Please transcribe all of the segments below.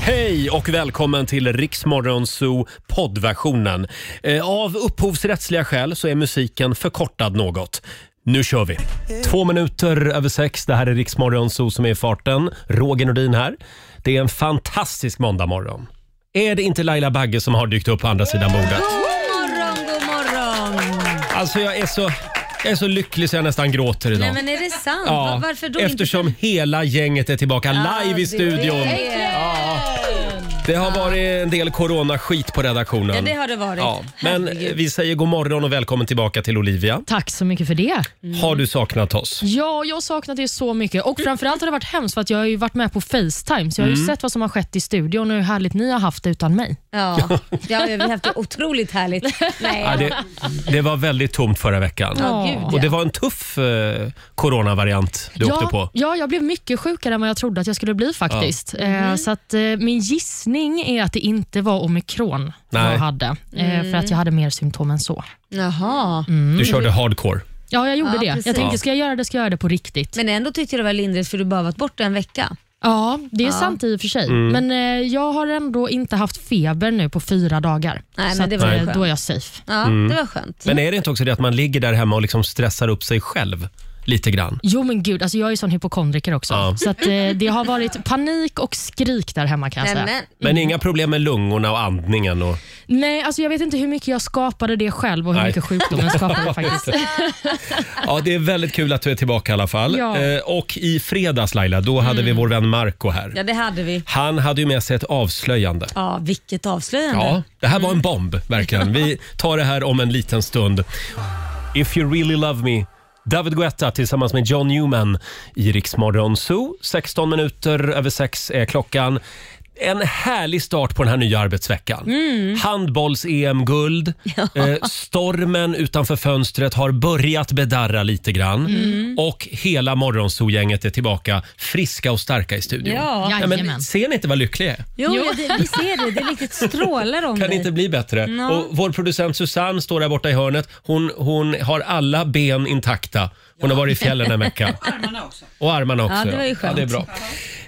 Hej och välkommen till Riksmorgon Zoo poddversionen. Eh, Av upphovsrättsliga skäl så är musiken förkortad något. Nu kör vi! Två minuter över sex. Det här är Riksmorgon Zoo som är i farten. Roger Nordin här. Det är en fantastisk måndagmorgon. Är det inte Laila Bagge som har dykt upp på andra sidan bordet? God morgon, god morgon! Alltså jag är så, jag är så lycklig så jag nästan gråter idag. Nej men är det sant? Va- Varför då eftersom hela gänget är tillbaka live i studion. inte? Ja. Det har varit en del coronaskit på redaktionen. Ja, det har det varit. Ja, men Herregud. vi säger god morgon och välkommen tillbaka till Olivia. Tack så mycket för det. Mm. Har du saknat oss? Ja, jag har saknat er så mycket. Och framförallt har det varit hemskt för att jag har ju varit med på Facetime, så jag har Mm. ju sett vad som har skett i studion och hur härligt ni har haft det utan mig. Ja. ja, vi har haft det otroligt härligt. Nej. Ja, det, det var väldigt tomt förra veckan. Ja, Ja. Och gud det ja. var en tuff eh, coronavariant du åkte Ja, på. ja, jag blev mycket sjukare än vad jag trodde att jag skulle bli faktiskt. Mm. Eh, så att, eh, min gissning är att det inte var omikron Nej. jag hade, eh, för Mm. att jag hade mer symptom än så. Jaha. Du körde hardcore. Ja, jag gjorde Ja, det. precis. Jag Ja. tänkte, ska jag göra det, ska jag göra det på riktigt. Men ändå tyckte jag det var lindrigt för du bara varit borta en vecka. ja, det är sant i och för sig. Mm. Men eh, jag har ändå inte haft feber nu på fyra dagar. Nej, så men det var att, eh, skönt. då är jag safe. Ja, det var skönt. Mm. Men är det inte också det att man ligger där hemma och liksom stressar upp sig själv lite grann? Jo men gud, alltså jag är ju sån hypokondriker också. Ja. Så att, eh, det har varit panik och skrik där hemma kan jag Alltså. Nej, säga. men, Men inga problem med lungorna och andningen? Och... Nej, alltså jag vet inte hur mycket jag skapade det själv och hur Nej. mycket sjukdomen skapade faktiskt. Ja, det är väldigt kul att du är tillbaka i alla fall. Ja. Eh, och i fredags Laila, då hade vi vår vän Marco här. Mm. ja, det hade vi. Han hade ju med sig ett avslöjande. Ja, vilket avslöjande. Ja, det här var en bomb verkligen. Vi tar det här om en liten stund. If you really love me. David Guetta tillsammans med John Newman i Rix Morgon Zoo. 16 minuter över sex är klockan. En härlig start på den här nya arbetsveckan. Handbolls-EM-guld. Eh, stormen utanför fönstret har börjat bedarra lite grann. Och hela Morgonzoo-gänget är tillbaka friska och starka i studion. Ja. Ja, men Jajamän. ser ni inte vad lycklig jag är? Jo, ja, det, vi ser det. Det riktigt strålar om Kan dig. inte bli bättre. Ja. Och vår producent Susanne står där borta i hörnet. Hon, hon har alla ben intakta. Hon har varit i fjällen en vecka. Armarna också. Och armarna också. Ja, det var ju ja, skönt. det är bra.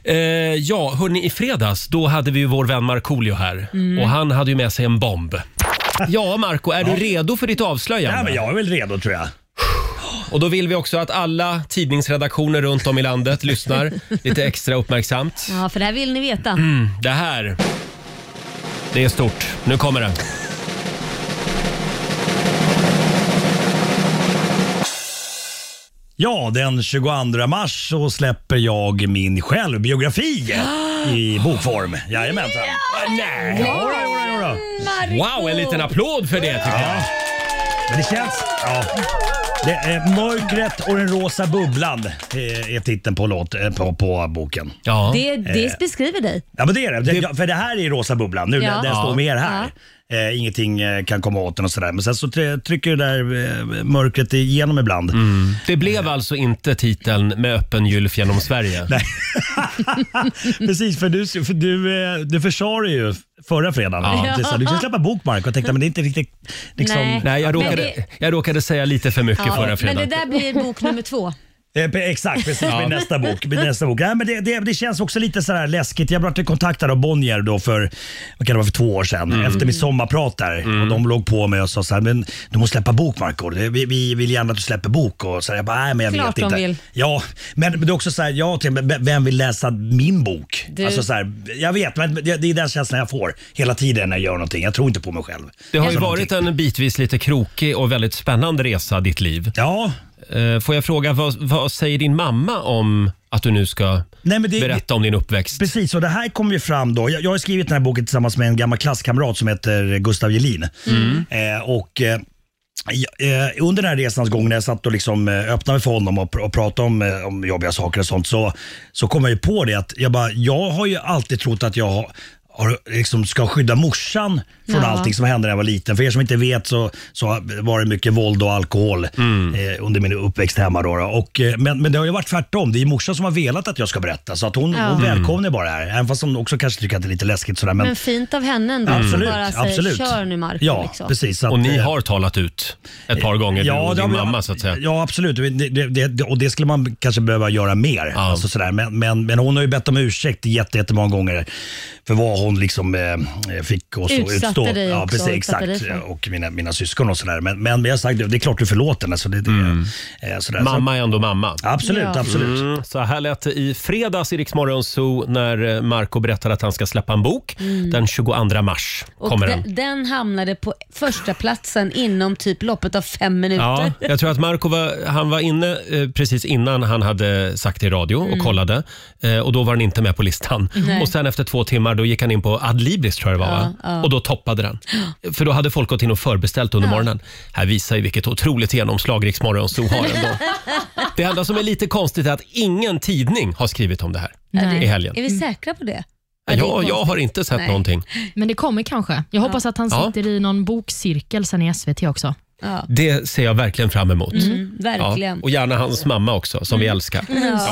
Eh, ja, hörni, i fredags då hade vi ju vår vän Markoolio här. Mm. Och han hade ju med sig en bomb. Ja, Marco, är du redo för ditt avslöjande? Ja, men jag är väl redo tror jag. Och då vill vi också att alla tidningsredaktioner runt om i landet lyssnar lite extra uppmärksamt. Mm, Ja, för det här vill ni veta. Det här, det är stort. Nu kommer det. Ja, den 22 mars så släpper jag min självbiografi i bokform. Jajamensan. Nej! Jodå, jodå, jodå. Wow, en liten applåd för det tycker jag. Ja. Men det känns... Ja. Det är mörkret och den rosa bubblan eh, är titeln på, låt, eh, på, på boken. Ja. Det, Eh. det beskriver dig. Ja men det är det. det. ja, För det här är rosa bubblan. Nu, Ja. den, den Ja. står med er här. Eh, ingenting eh, kan komma åt den och sådär. Men sen så try- trycker det där eh, mörkret igenom ibland. Det blev alltså inte titeln med öppen gylf genom Sverige. Nej. Precis, för du, för du, eh, du försade ju förra fredagen. Ja. Du sa, Du ska släppa bok Mark och tänkte men det är inte riktigt... Liksom, Nej. Nej, jag Men råkade, det- jag råkade säga lite för mycket förra Ja, men fredagen. det där blir bok nummer två. Eh, pe- Exakt, precis. Med nästa bok. Med nästa bok. Nej, men det, det, det känns också lite sådär läskigt. Jag blev kontaktad av Bonnier då för, vad kan det vara, för två år sedan Mm. efter mitt sommarprat där. Och de låg på mig och sa såhär, men du måste släppa bok Marco. Det- Vi, vi vill gärna att du släpper bok. Och så jag bara, nej men jag Klart vet de inte. vill. Ja, men men det är också såhär, jag tänkte, men vem vill läsa min bok? Du. Alltså, såhär, jag vet, men det det är den känslan jag får hela tiden när jag gör någonting. Jag tror inte på mig själv. Det har ju Alltså, varit någonting. en bitvis lite krokig och väldigt spännande resa, ditt liv. Ja, Eh, Får jag fråga, vad, vad säger din mamma om att du nu ska Nej, men det- berätta om din uppväxt? Precis, och det här kom ju fram då. Jag, jag har skrivit den här boken tillsammans med en gammal klasskamrat som heter Gustav Jelin. Mm. Eh, och, eh, jag- eh, under den här resans gång när jag satt och liksom, eh, öppnade mig för honom och, pr- och pratade om, eh, om jobbiga saker och sånt så, så kom jag ju på det att jag, bara, jag har ju alltid trott att jag har har, liksom ska skydda morsan från Ja. allting som hände när jag var liten. För er som inte vet så, så var det mycket våld och alkohol Mm. eh, under min uppväxt hemma. Då, då. Och, eh, men, men det har ju varit tvärtom. Det är ju morsan som har velat att jag ska berätta. Så att hon, Ja. hon Mm. välkomnar bara det här. Även fast hon också kanske tycker att det är lite läskigt. Sådär, men, Men fint av henne ändå. Mm. att absolut, Bara säger, absolut. kör nu Marco. Ja, liksom. precis. Så Och att, ni eh, har talat ut ett par gånger, du och det din har vi- mamma så att säga. Ja, absolut. Det, det, det, och det skulle man kanske behöva göra mer. Alltså sådär. Men, men, men hon har ju bett om ursäkt jätte, jättemånga gånger. för vad hon liksom eh, fick oss att Utsatte utstå. dig ja, också, precis, utsatte exakt. dig för. Och mina, mina syskon och sådär. Men, men jag har sagt, det är klart du förlåter henne. Så det, det, eh, sådär. Mm. Mamma är ändå mamma. Så, absolut, Ja. absolut. Mm, så här lät det i fredags i Rix Morgon Zoo när eh, Marco berättade att han ska släppa en bok. Den 22 mars Och kommer den. Mm. den. den hamnade på första platsen inom typ loppet av fem minuter. Ja, jag tror att Marco var, han var inne eh, precis innan han hade sagt det i radio och kollade. Eh, och då var den inte med på listan. Mm. Nej. Och sen efter två timmar då gick han in på Adlibris tror jag det var, va? Ja, ja. och då toppade den. För då hade folk gått in och förbeställt under morgonen. Här visar ju vilket otroligt genomslag Rix Morgon Zoo har ändå. det enda som är lite konstigt är att ingen tidning har skrivit om det här Nej. i helgen. Är vi säkra på det? Ja, det är jag, jag konstigt. har inte sett Nej. någonting. Men det kommer kanske. Jag hoppas att han Ja. sitter i någon bokcirkel sen i SVT också. Ja. Det ser jag verkligen fram emot. Mm, verkligen. Mm. Ja, och gärna hans mamma också, som vi älskar.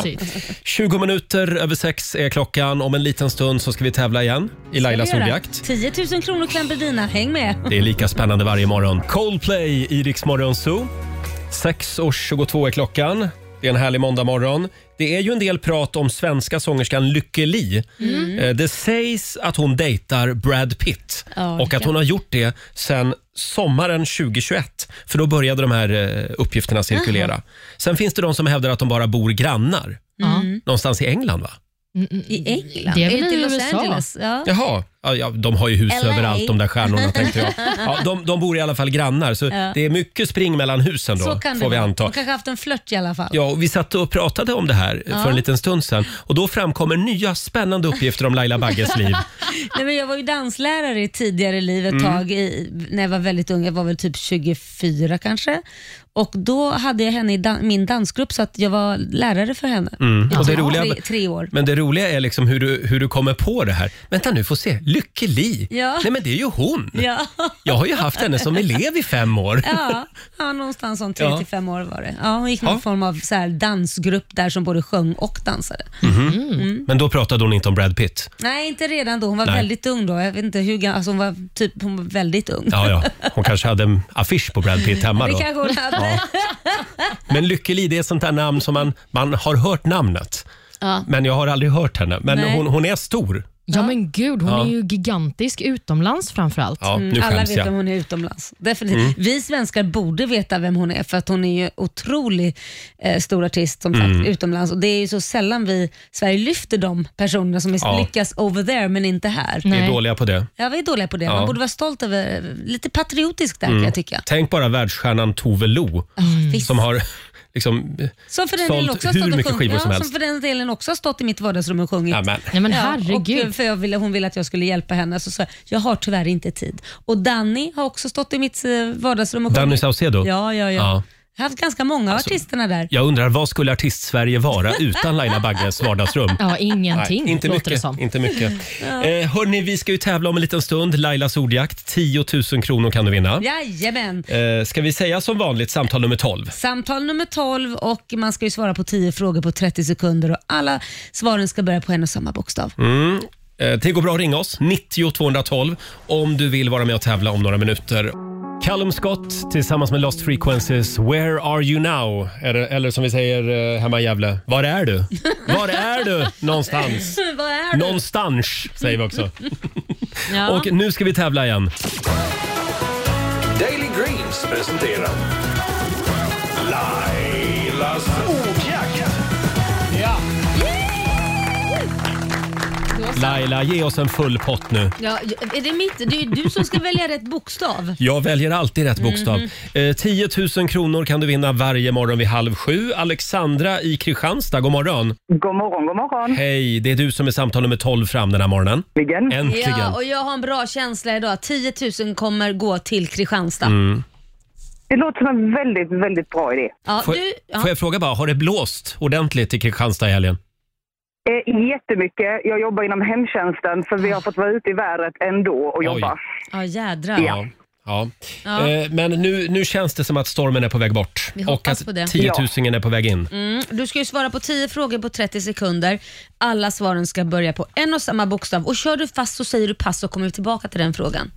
Mysigt. 20 minuter över sex är klockan. Om en liten stund så ska vi tävla igen i Lailas Ska vi göra? ordjakt. 10 000 kronor Clambedina, häng med. Det är lika spännande varje morgon. Coldplay i Rix Morgon Zoo. 6.22 är klockan. Det är en härlig måndagmorgon. Det är ju en del prat om svenska sångerskan Lykke Li. Mm. Eh, Det sägs att hon dejtar Brad Pitt Ja, och att hon har gjort det sedan sommaren 2021. För då började de här eh, uppgifterna cirkulera. Sen finns det de som hävdar att de bara bor grannar. Någonstans i England va? Mm, mm. I England? Det är väl inte i Los USA? Angeles? Ja. Jaha, ja, ja, de har ju hus LA. överallt de där stjärnorna tänkte jag. Ja, de, de bor i alla fall grannar så det är mycket spring mellan husen då Så kan får det vi vara. anta. De kanske haft en flört i alla fall. Ja, och vi satt och pratade om det här för en liten stund sedan och då framkommer nya spännande uppgifter om Laila Bagges liv. Nej, men jag var ju danslärare i tidigare liv ett Mm. tag i, när jag var väldigt ung. Jag var väl typ 24 kanske. Och Då hade jag henne i dan- min dansgrupp så att jag var lärare för henne. Jag Mm. Och det tror roliga- tre, tre år. Men det roliga är liksom hur du, hur du kommer på det här. Vänta nu, får se. Lykke Li. Ja. Nej men det är ju hon. Ja, Jag har ju haft henne som elev i fem år. ja, ja, någonstans om Ja. 35 fem år var det. Ja, hon gick någon Ja. form av så här dansgrupp där som både sjöng och dansade. Mm. Men då pratade hon inte om Brad Pitt. Nej, inte redan då. Hon var Nej. väldigt ung då. Jag vet inte hur gammal, alltså hon var typ hon var väldigt ung. Ja, ja. Hon kanske hade en affisch på Brad Pitt hemma Det då. kanske hon hade. Men Lykke Li, det är ett sånt där namn som man, man har hört namnet. Ja. Men jag har aldrig hört henne. Men Nej. hon, hon är stor. Ja men gud, hon Ja. är ju gigantisk utomlands framförallt. Ja, nu Mm. Alla skäms vet vem jag. Mm. hon är utomlands. Definitivt. Vi svenskar borde veta vem hon är för att hon är ju otroligt eh, stor artist som sagt Mm. utomlands och det är ju så sällan vi Sverige lyfter de personerna som Ja. lyckas over there men inte här. Vi är Nej. dåliga på det. Ja, vi är dåliga på det. Man Ja. borde vara stolt över, eh, lite patriotisk där kan jag tycka. Ah, Tänk bara världsstjärnan Tove Lo Visst. som har liksom... Som för den sålt delen också har hur stått och mycket sjung- skivor ja, som helst. Som för den delen också har stått i mitt vardagsrum och sjungit. Ja, men, Nej men Ja, herregud. och eh, för jag ville, hon ville att jag skulle hjälpa henne så sa jag, jag har tyvärr inte tid. Och Danny har också stått i mitt eh, vardagsrum och Danny sjungit. Saucedo. Ja, ja, ja. Ja. Alltså, Jag har haft ganska många av artisterna där. Jag undrar, vad skulle artist-Sverige vara utan Laila Bagges vardagsrum? Ja, ingenting Nej, inte låter det mycket. som. Inte mycket. Eh, hörni, vi ska ju tävla om en liten stund. Lailas ordjakt. 10 000 kronor kan du vinna. Jajamän. Eh, ska vi säga som vanligt samtal nummer 12? Samtal nummer 12 och man ska ju svara på 10 frågor på 30 sekunder och alla svaren ska börja på en och samma bokstav. Eh, Det går bra att ringa oss, 90 212, om du vill vara med och tävla om några minuter. Callum Scott tillsammans med Lost Frequencies, Where Are You Now? Eller, eller som vi säger eh, hemma i Gävle, Var är du? Var är du någonstans? Vad är det? Någonstans säger vi också. Ja. Och nu ska vi tävla igen. Daily Greens presenterar Lailas ordjakt. Laila, ge oss en full pott nu. Ja, är det, mitt? det är ju du som ska välja rätt bokstav. Jag väljer alltid rätt bokstav. Mhm. Eh, 10 000 kronor kan du vinna varje morgon vid halv sju. Alexandra i Kristianstad, god morgon. God morgon, god morgon. Hej, det är du som är samtal nummer 12 fram den här morgonen. Äntligen. Äntligen. Ja, och jag har en bra känsla idag. 10 000 kommer gå till Kristianstad. Mm. Det låter som en väldigt, väldigt bra idé. Ja, Får, du, ja. får jag fråga bara, har det blåst ordentligt i Kristianstad i helgen? Eh, jättemycket. Jag jobbar inom hemtjänsten så vi har fått vara ute i vädret ändå och jobba. ja jädrar. Ja. ja. Ja. Eh, men nu, nu känns det som att stormen är på väg bort Vi och hoppas att på det. 10 000 är på väg in. Mm, Du ska ju svara på 10 frågor på 30 sekunder. Alla svaren ska börja på en och samma bokstav. Och Kör du fast så säger du pass så kommer vi tillbaka till den frågan.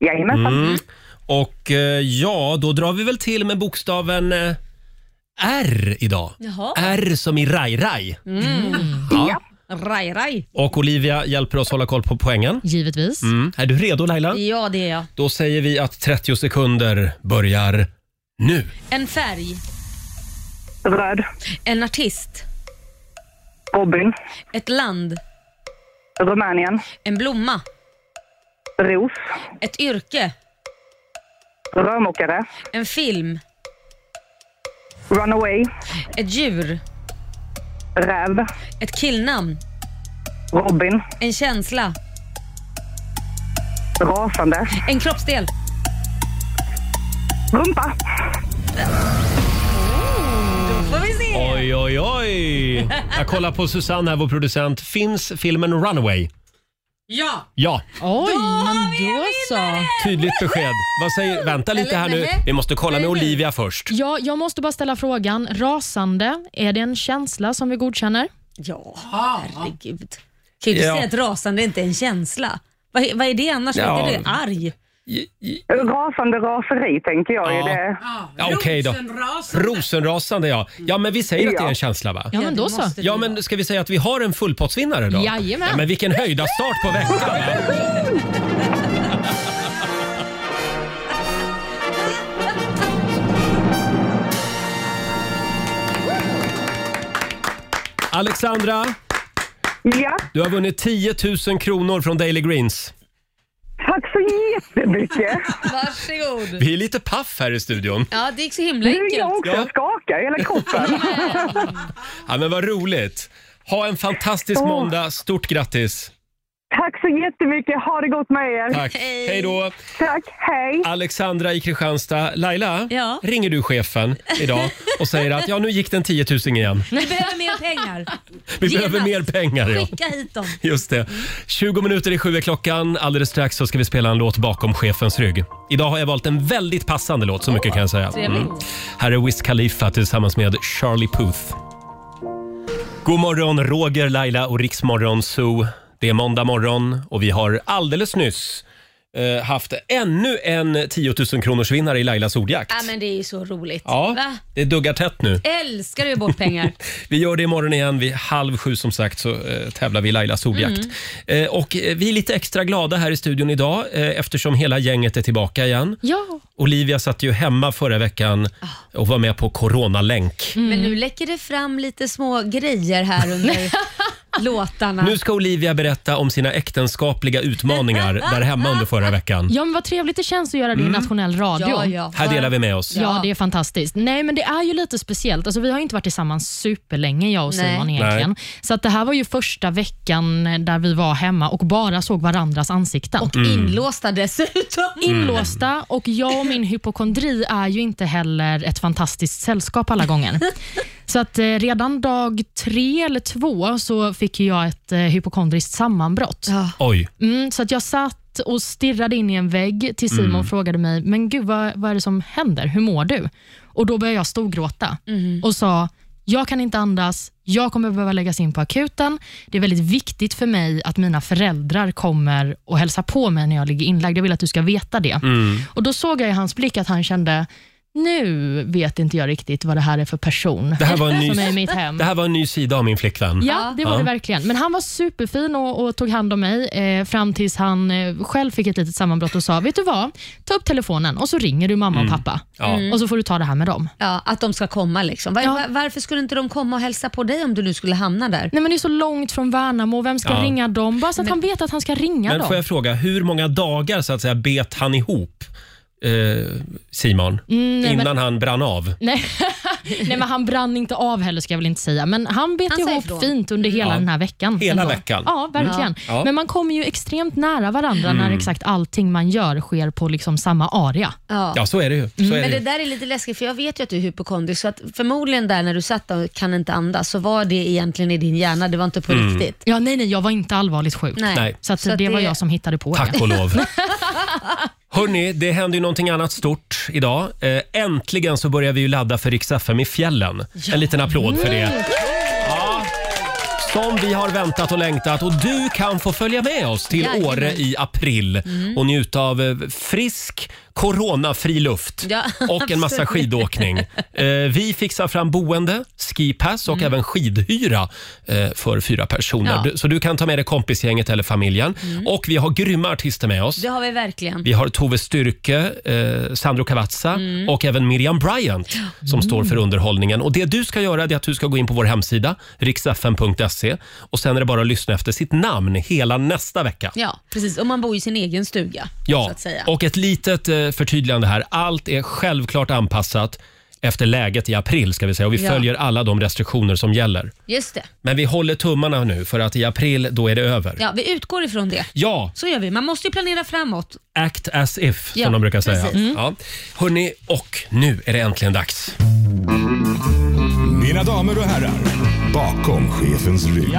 Jajamensan. Mm. Och eh, ja, då drar vi väl till med bokstaven eh, R idag. Jaha. Mm. R som i raj-raj. Ja. Raj, raj. Och Olivia hjälper oss hålla koll på poängen. Givetvis. Mm. Är du redo Laila? Ja, det är jag. Då säger vi att 30 sekunder börjar nu. En färg, Röd. en artist, Robin. ett land, Rumänien. en blomma, Ros. ett yrke, Rörmokare. en film, Runaway. ett djur, Räv. ett killnamn, Robin. en känsla, Rasande. en kroppsdel. Rumpa. Får vi se? Oj, oj, oj! Jag kollar på Susanne här, vår producent. Finns filmen Runaway? Ja! Ja, Oj, men vi en då så. tydligt besked. Vad säger... Vänta lite här nu. Vi måste kolla med Olivia först. Ja, jag måste bara ställa frågan. Rasande, är det en känsla som vi godkänner? Ja, herregud. Kan ju inte Ja. säga att rasande inte är en känsla. Vad, vad är det annars? Ja. Vad är det? Arg? Rasande raseri tänker jag. Ja. Är det. Ja, okej då. Rosenrasande, ja. Ja, men vi säger att det är en Ja. känsla, va? Ja, men det då så. måste det Ja, vara. men ska vi säga att vi har en fullpottsvinnare då? Jajamän. Ja, men vilken höjda start på veckan! va? Alexandra, Ja, du har vunnit 10 000 kronor från Daily Greens. tack så jättemycket. Varsågod. Vi är lite paff här i studion. Ja, det gick så himla Nu är jag enkelt. också Ja. skakar i hela kroppen. Ja, men vad roligt! Ha en fantastisk Åh. måndag. Stort grattis! Tack så jättemycket. Ha det gott med er. Tack! Hej. Hej då! Tack. Hej. Alexandra i Kristianstad. Laila, Ja. ringer du chefen idag och säger att ja, nu gick den 10 000 igen. Vi behöver mer pengar. Vi Genast. behöver mer pengar. Ja. Skicka hit dem. Just det. 20 minuter i sju är klockan. Alldeles strax så ska vi spela en låt bakom chefens rygg. Idag har jag valt en väldigt passande låt, så mycket kan jag säga. Mm. Trevligt. Här är Wiz Khalifa tillsammans med Charlie Puth. God morgon, Roger, Laila och Riksmorgon Zoo. Det är måndag morgon och vi har alldeles nyss eh, haft ännu en 10 000 kronors vinnare i Lailas ordjakt. Ja, men det är ju så roligt. Ja, Va? det duggar tätt nu. Älskar du bort pengar? Vi gör det imorgon igen. Vid halv sju som sagt så eh, tävlar vi i Lailas ordjakt. Mm. Eh, och eh, vi är lite extra glada här i studion idag eh, eftersom hela gänget är tillbaka igen. Ja. Olivia satt ju hemma förra veckan Ah. och var med på coronalänk. Mm. Men nu läcker det fram lite små grejer här under låtarna. Nu ska Olivia berätta om sina äktenskapliga utmaningar där hemma under förra veckan. ja, men vad trevligt det känns att göra det i nationell radio. ja, ja. Här delar vi med oss. Ja, Ja. det är fantastiskt. Nej, men det är ju lite speciellt. Alltså, vi har ju inte varit tillsammans superlänge, jag och Nej. Simon egentligen. Så att det här var ju första veckan där vi var hemma och bara såg varandras ansikten. Och Mm. inlåsta dessutom. inlåsta och jag och min hypokondri är ju inte heller ett fantastiskt sällskap alla gånger. Så att eh, redan dag tre eller två så fick ju jag ett eh, hypokondriskt sammanbrott. Oj. Mm, så att jag satt och stirrade in i en vägg till Simon Mm. frågade mig, men gud vad, vad är det som händer? Hur mår du? Och Då började jag storgråta Mm. och sa, jag kan inte andas, jag kommer behöva läggas in på akuten. Det är väldigt viktigt för mig att mina föräldrar kommer och hälsar på mig när jag ligger inlagd. Jag vill att du ska veta det. Mm. Och Då såg jag i hans blick att han kände, nu vet inte jag riktigt vad det här är för person Det här var en ny, som är i mitt hem. det här var en ny sida av min flickvän. Ja, det var det verkligen. Men han var superfin och, och tog hand om mig eh, fram tills han eh, själv fick ett litet sammanbrott och sa, vet du vad? Ta upp telefonen och så ringer du mamma Mm. och pappa Ja. och så får du ta det här med dem. Ja, att de ska komma liksom. Var, var, varför skulle inte de komma och hälsa på dig om du nu skulle hamna där? Nej, men det är så långt från Värnamo, vem ska Ja. ringa dem? Bara så att han vet att han ska ringa Men dem. får jag fråga, hur många dagar så att säga bet han ihop eh, Simon Mm, nej, innan han brann av? Nej. Nej, men han brann inte av heller ska jag väl inte säga, men han bet Han sa ihop ifrån. fint under hela Ja. den här veckan. Hela veckan. Ja, verkligen. Ja. Mm. Men man kommer ju extremt nära varandra när exakt allting man gör sker på liksom samma area. Ja. Ja, så är det ju. Så är Mm. Men det det ju. där är lite läskigt för jag vet ju att du är hypokondrisk så att förmodligen där när du satt där och kan inte andas så var det egentligen i din hjärna, det var inte på riktigt. Ja, nej, nej, jag var inte allvarligt sjuk. Nej. Mm. Nej. Så, att Så att det var det- jag som hittade på Tack det. och lov. Hörni, det händer ju någonting annat stort idag. Eh, Äntligen så börjar vi ju ladda för Rix FM i fjällen. En liten applåd för Mm. det. Ja. Som vi har väntat och längtat och du kan få följa med oss till Jajamän. Mm. Åre i april och njuta av eh, frisk, coronafri luft Ja, och en massa absolut. skidåkning. Eh, vi fixar fram boende, skipass och även skidhyra eh, för fyra personer. Mm. Ja. Mm. Du, så du kan ta med dig kompisgänget eller familjen. Och vi har grymma artister med oss. Det har vi verkligen. Vi har Tove Styrke, eh, Sandro Cavazza Mm. och även Miriam Bryant som står för underhållningen. Och Det du ska göra det är att du ska gå in på vår hemsida, riksfn.se och sen är det bara att lyssna efter sitt namn hela nästa vecka. Ja, precis. Och man bor i sin egen stuga. så Ja, att säga. och ett litet eh, förtydligande här. Allt är självklart anpassat efter läget i april ska vi säga och vi Ja. följer alla de restriktioner som gäller. Just det. Men vi håller tummarna nu för att i april då är det över. Ja, vi utgår ifrån det. ja Så gör vi. Man måste ju planera framåt. Act as if, Ja, som de brukar säga. precis. Mm. Ja. Hörni, och nu är det äntligen dags. Mina damer och herrar, bakom chefens rygg.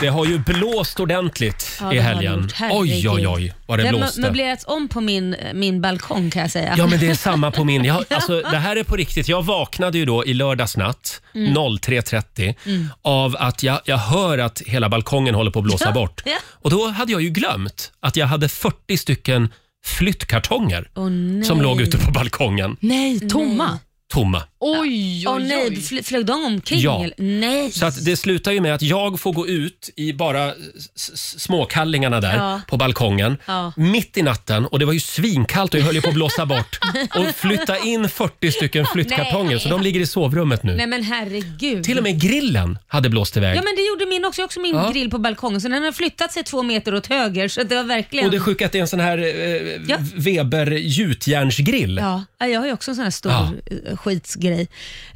Det har ju blåst ordentligt Ja, i det har det helgen. gjort. Herregud. Oj, oj, oj, vad det, det har mö- blåste. möblerats om på min, min balkong kan jag säga. Ja, men det är samma på min. Jag, alltså, det här är på riktigt. Jag vaknade ju då i lördags natt Mm. 03.30 av att jag, jag hör att hela balkongen håller på att blåsa Ja, bort. ja. Och då hade jag ju glömt att jag hade 40 stycken flyttkartonger Åh, nej. som låg ute på balkongen, Nej, tomma. tomma. Oj, oj, Åh oj. nej, fl- flög de omkring? Ja. eller? Nej. Så att det slutar ju med att jag får gå ut i bara s- s- småkallingarna där Ja. på balkongen Ja. mitt i natten och det var ju svinkallt och jag höll ju på att blåsa bort och flytta in 40 stycken flyttkartonger Nej. så de ligger i sovrummet nu. Nej men herregud. Till och med grillen hade blåst iväg. Ja men det gjorde min också. Jag har också min Ja. grill på balkongen så den har flyttat sig två meter åt höger så att det var verkligen... Och det sjuka är att det är en sån här eh, Ja. Weber gjutjärnsgrill. Ja, ja, jag har ju också en sån här stor Ja. eh, skitsgrej.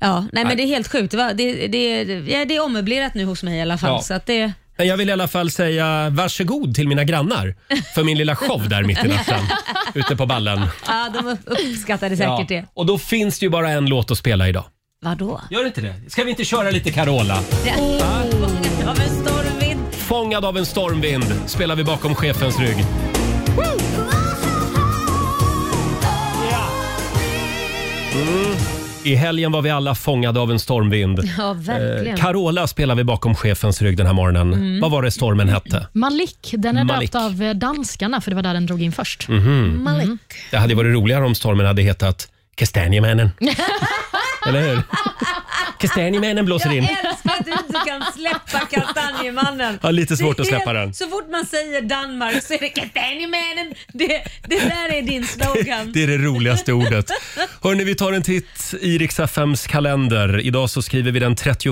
Ja, nej, Nej. men det är helt sjukt. Det, var, det, det, ja, det är ommöblerat nu hos mig i alla fall. Ja. Så att det, Men jag vill i alla fall säga varsågod till mina grannar för min lilla show där mitt i natten ute på ballen. ja, de upp- uppskattade säkert det. Och då finns det ju bara en låt att spela idag. Vadå? Gör inte det? Ska vi inte köra lite Carola? Det Fångad av en stormvind. Fångad av en stormvind spelar vi bakom chefens rygg. Mm. I helgen var vi alla fångade av en stormvind. Ja, verkligen. Carola spelar vi bakom chefens rygg den här morgonen. Vad var det stormen hette? Malik, den är Malik. Mm. döpt av eh, danskarna, för det var där den drog in först. Malik. Det hade varit roligare om stormen hade hetat Kastanjemännen. Eller hur? Kastanjemännen blåser in. Jag älskar att du inte kan släppa kastanjemannen. Ja, lite svårt Det är att släppa helt- den. Så fort man säger Danmark så är det kastanjemannen. Det, det där är din slogan. Det är det roligaste ordet. Hörni, vi tar en titt i Riksaffems kalender. Idag så skriver vi den 31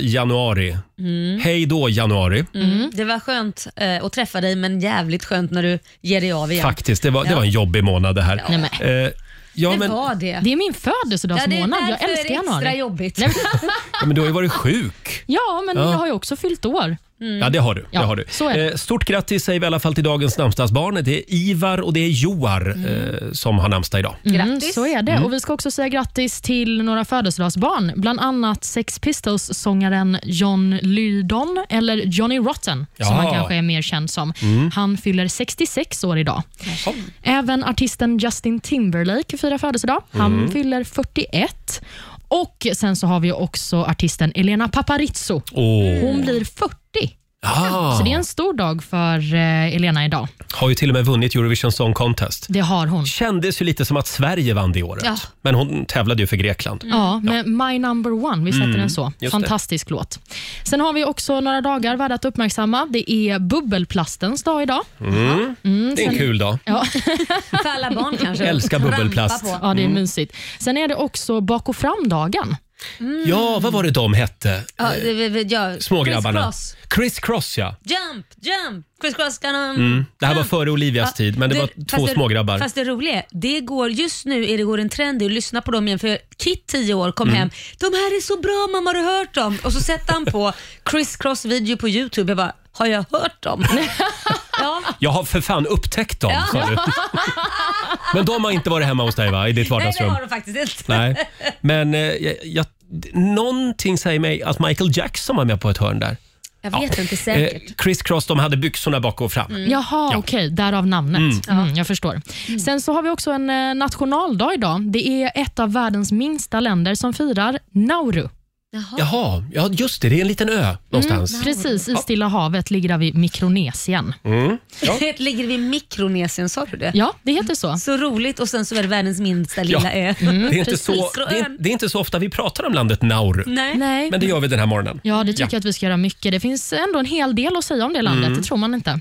januari. Mm. Hej då januari. Mm. Det var skönt eh, att träffa dig men jävligt skönt när du ger dig av igen. Faktiskt, det var, det var en jobbig månad det här. Nej, men. Eh, ja, det men, var det. Det är min Ja, det är födelsedagsmånad. jag därför älskar det är extra januari. jobbigt. ja, men du har ju varit sjuk. Ja, men Ja. jag har ju också fyllt år. Ja, det har du. Mm. Ja, det har du. så är det. Eh, Stort grattis säger vi i alla fall till dagens namnsdagsbarn. Det är Ivar och det är Joar eh, som har namnsdag idag. Mm, Grattis. så är det. Och Vi ska också säga grattis till några födelsedagsbarn. Bland annat Sex Pistols-sångaren John Lydon, eller Johnny Rotten, som Ja. Mm. han kanske är mer känd som. Han fyller 66 år idag. Även artisten Justin Timberlake firar födelsedag. Han Mm. fyller 41. Och Sen så har vi också artisten Elena Paparizou. Åh. Hon blir 40. Ah, Så det är en stor dag för eh, Elena idag. Har ju till och med vunnit Eurovision Song Contest. Det har hon. Kändes ju lite som att Sverige vann det året. Ja. Men hon tävlade ju för Grekland. Mm. Ja, Mm. med My number one, vi sätter den så. just Fantastisk låt. Sen har vi också några dagar värda att uppmärksamma. Det är bubbelplastens dag idag. Mm, Det är en kul dag. Ja, För alla barn kanske. Älskar Trampa bubbelplast. på. ja det är mysigt. Sen är det också bak och fram-dagen. Ja, vad var det de hette? Mm. Ja, det- det- det- ja. Smågrabbarna. Criss-cross. Chris Cross, ja. Jump, jump, criss cross. Mm. Det här var före Olivias tid, men det var två smågrabbar. Fast det roliga är, det går, just nu är det går en trend i att lyssna på dem igen. För Kit, 10 år, kom Mm. hem. De här är så bra mamma, har du hört dem? Och så sätter han på criss cross video på YouTube. Jag bara, har jag hört dem? ja, Jag har för fan upptäckt dem, sa du. Men de har inte varit hemma hos dig, va? I ditt nej det vardagsrum? har de faktiskt inte. Nej. Men eh, jag, jag, d- någonting säger mig att Michael Jackson var med på ett hörn där. Jag vet inte säkert. Mm. Eh, Chris Cross, de hade byxorna bak och fram. Jaha, Ja. okej. Därav namnet. Mm. jag förstår. Sen så har vi också en eh, nationaldag idag. Det är ett av världens minsta länder som firar Nauru. Jaha. Jaha, ja just det, det är en liten ö någonstans. Mm. Precis, i Stilla havet ligger där vid Mikronesien. Ligger vi i Mikronesien, sa du det? Ja, det heter så. Så roligt och sen så är det världens minsta Ja. Mm. lilla ö. eh, Det, är inte precis. så, det, är, det är inte så ofta vi pratar om landet Nauru, Nej. Nej. men det gör vi den här morgonen. Ja, Mm. det tycker jag att vi ska göra mycket. Det finns ändå en hel del att säga om det landet, det tror man inte.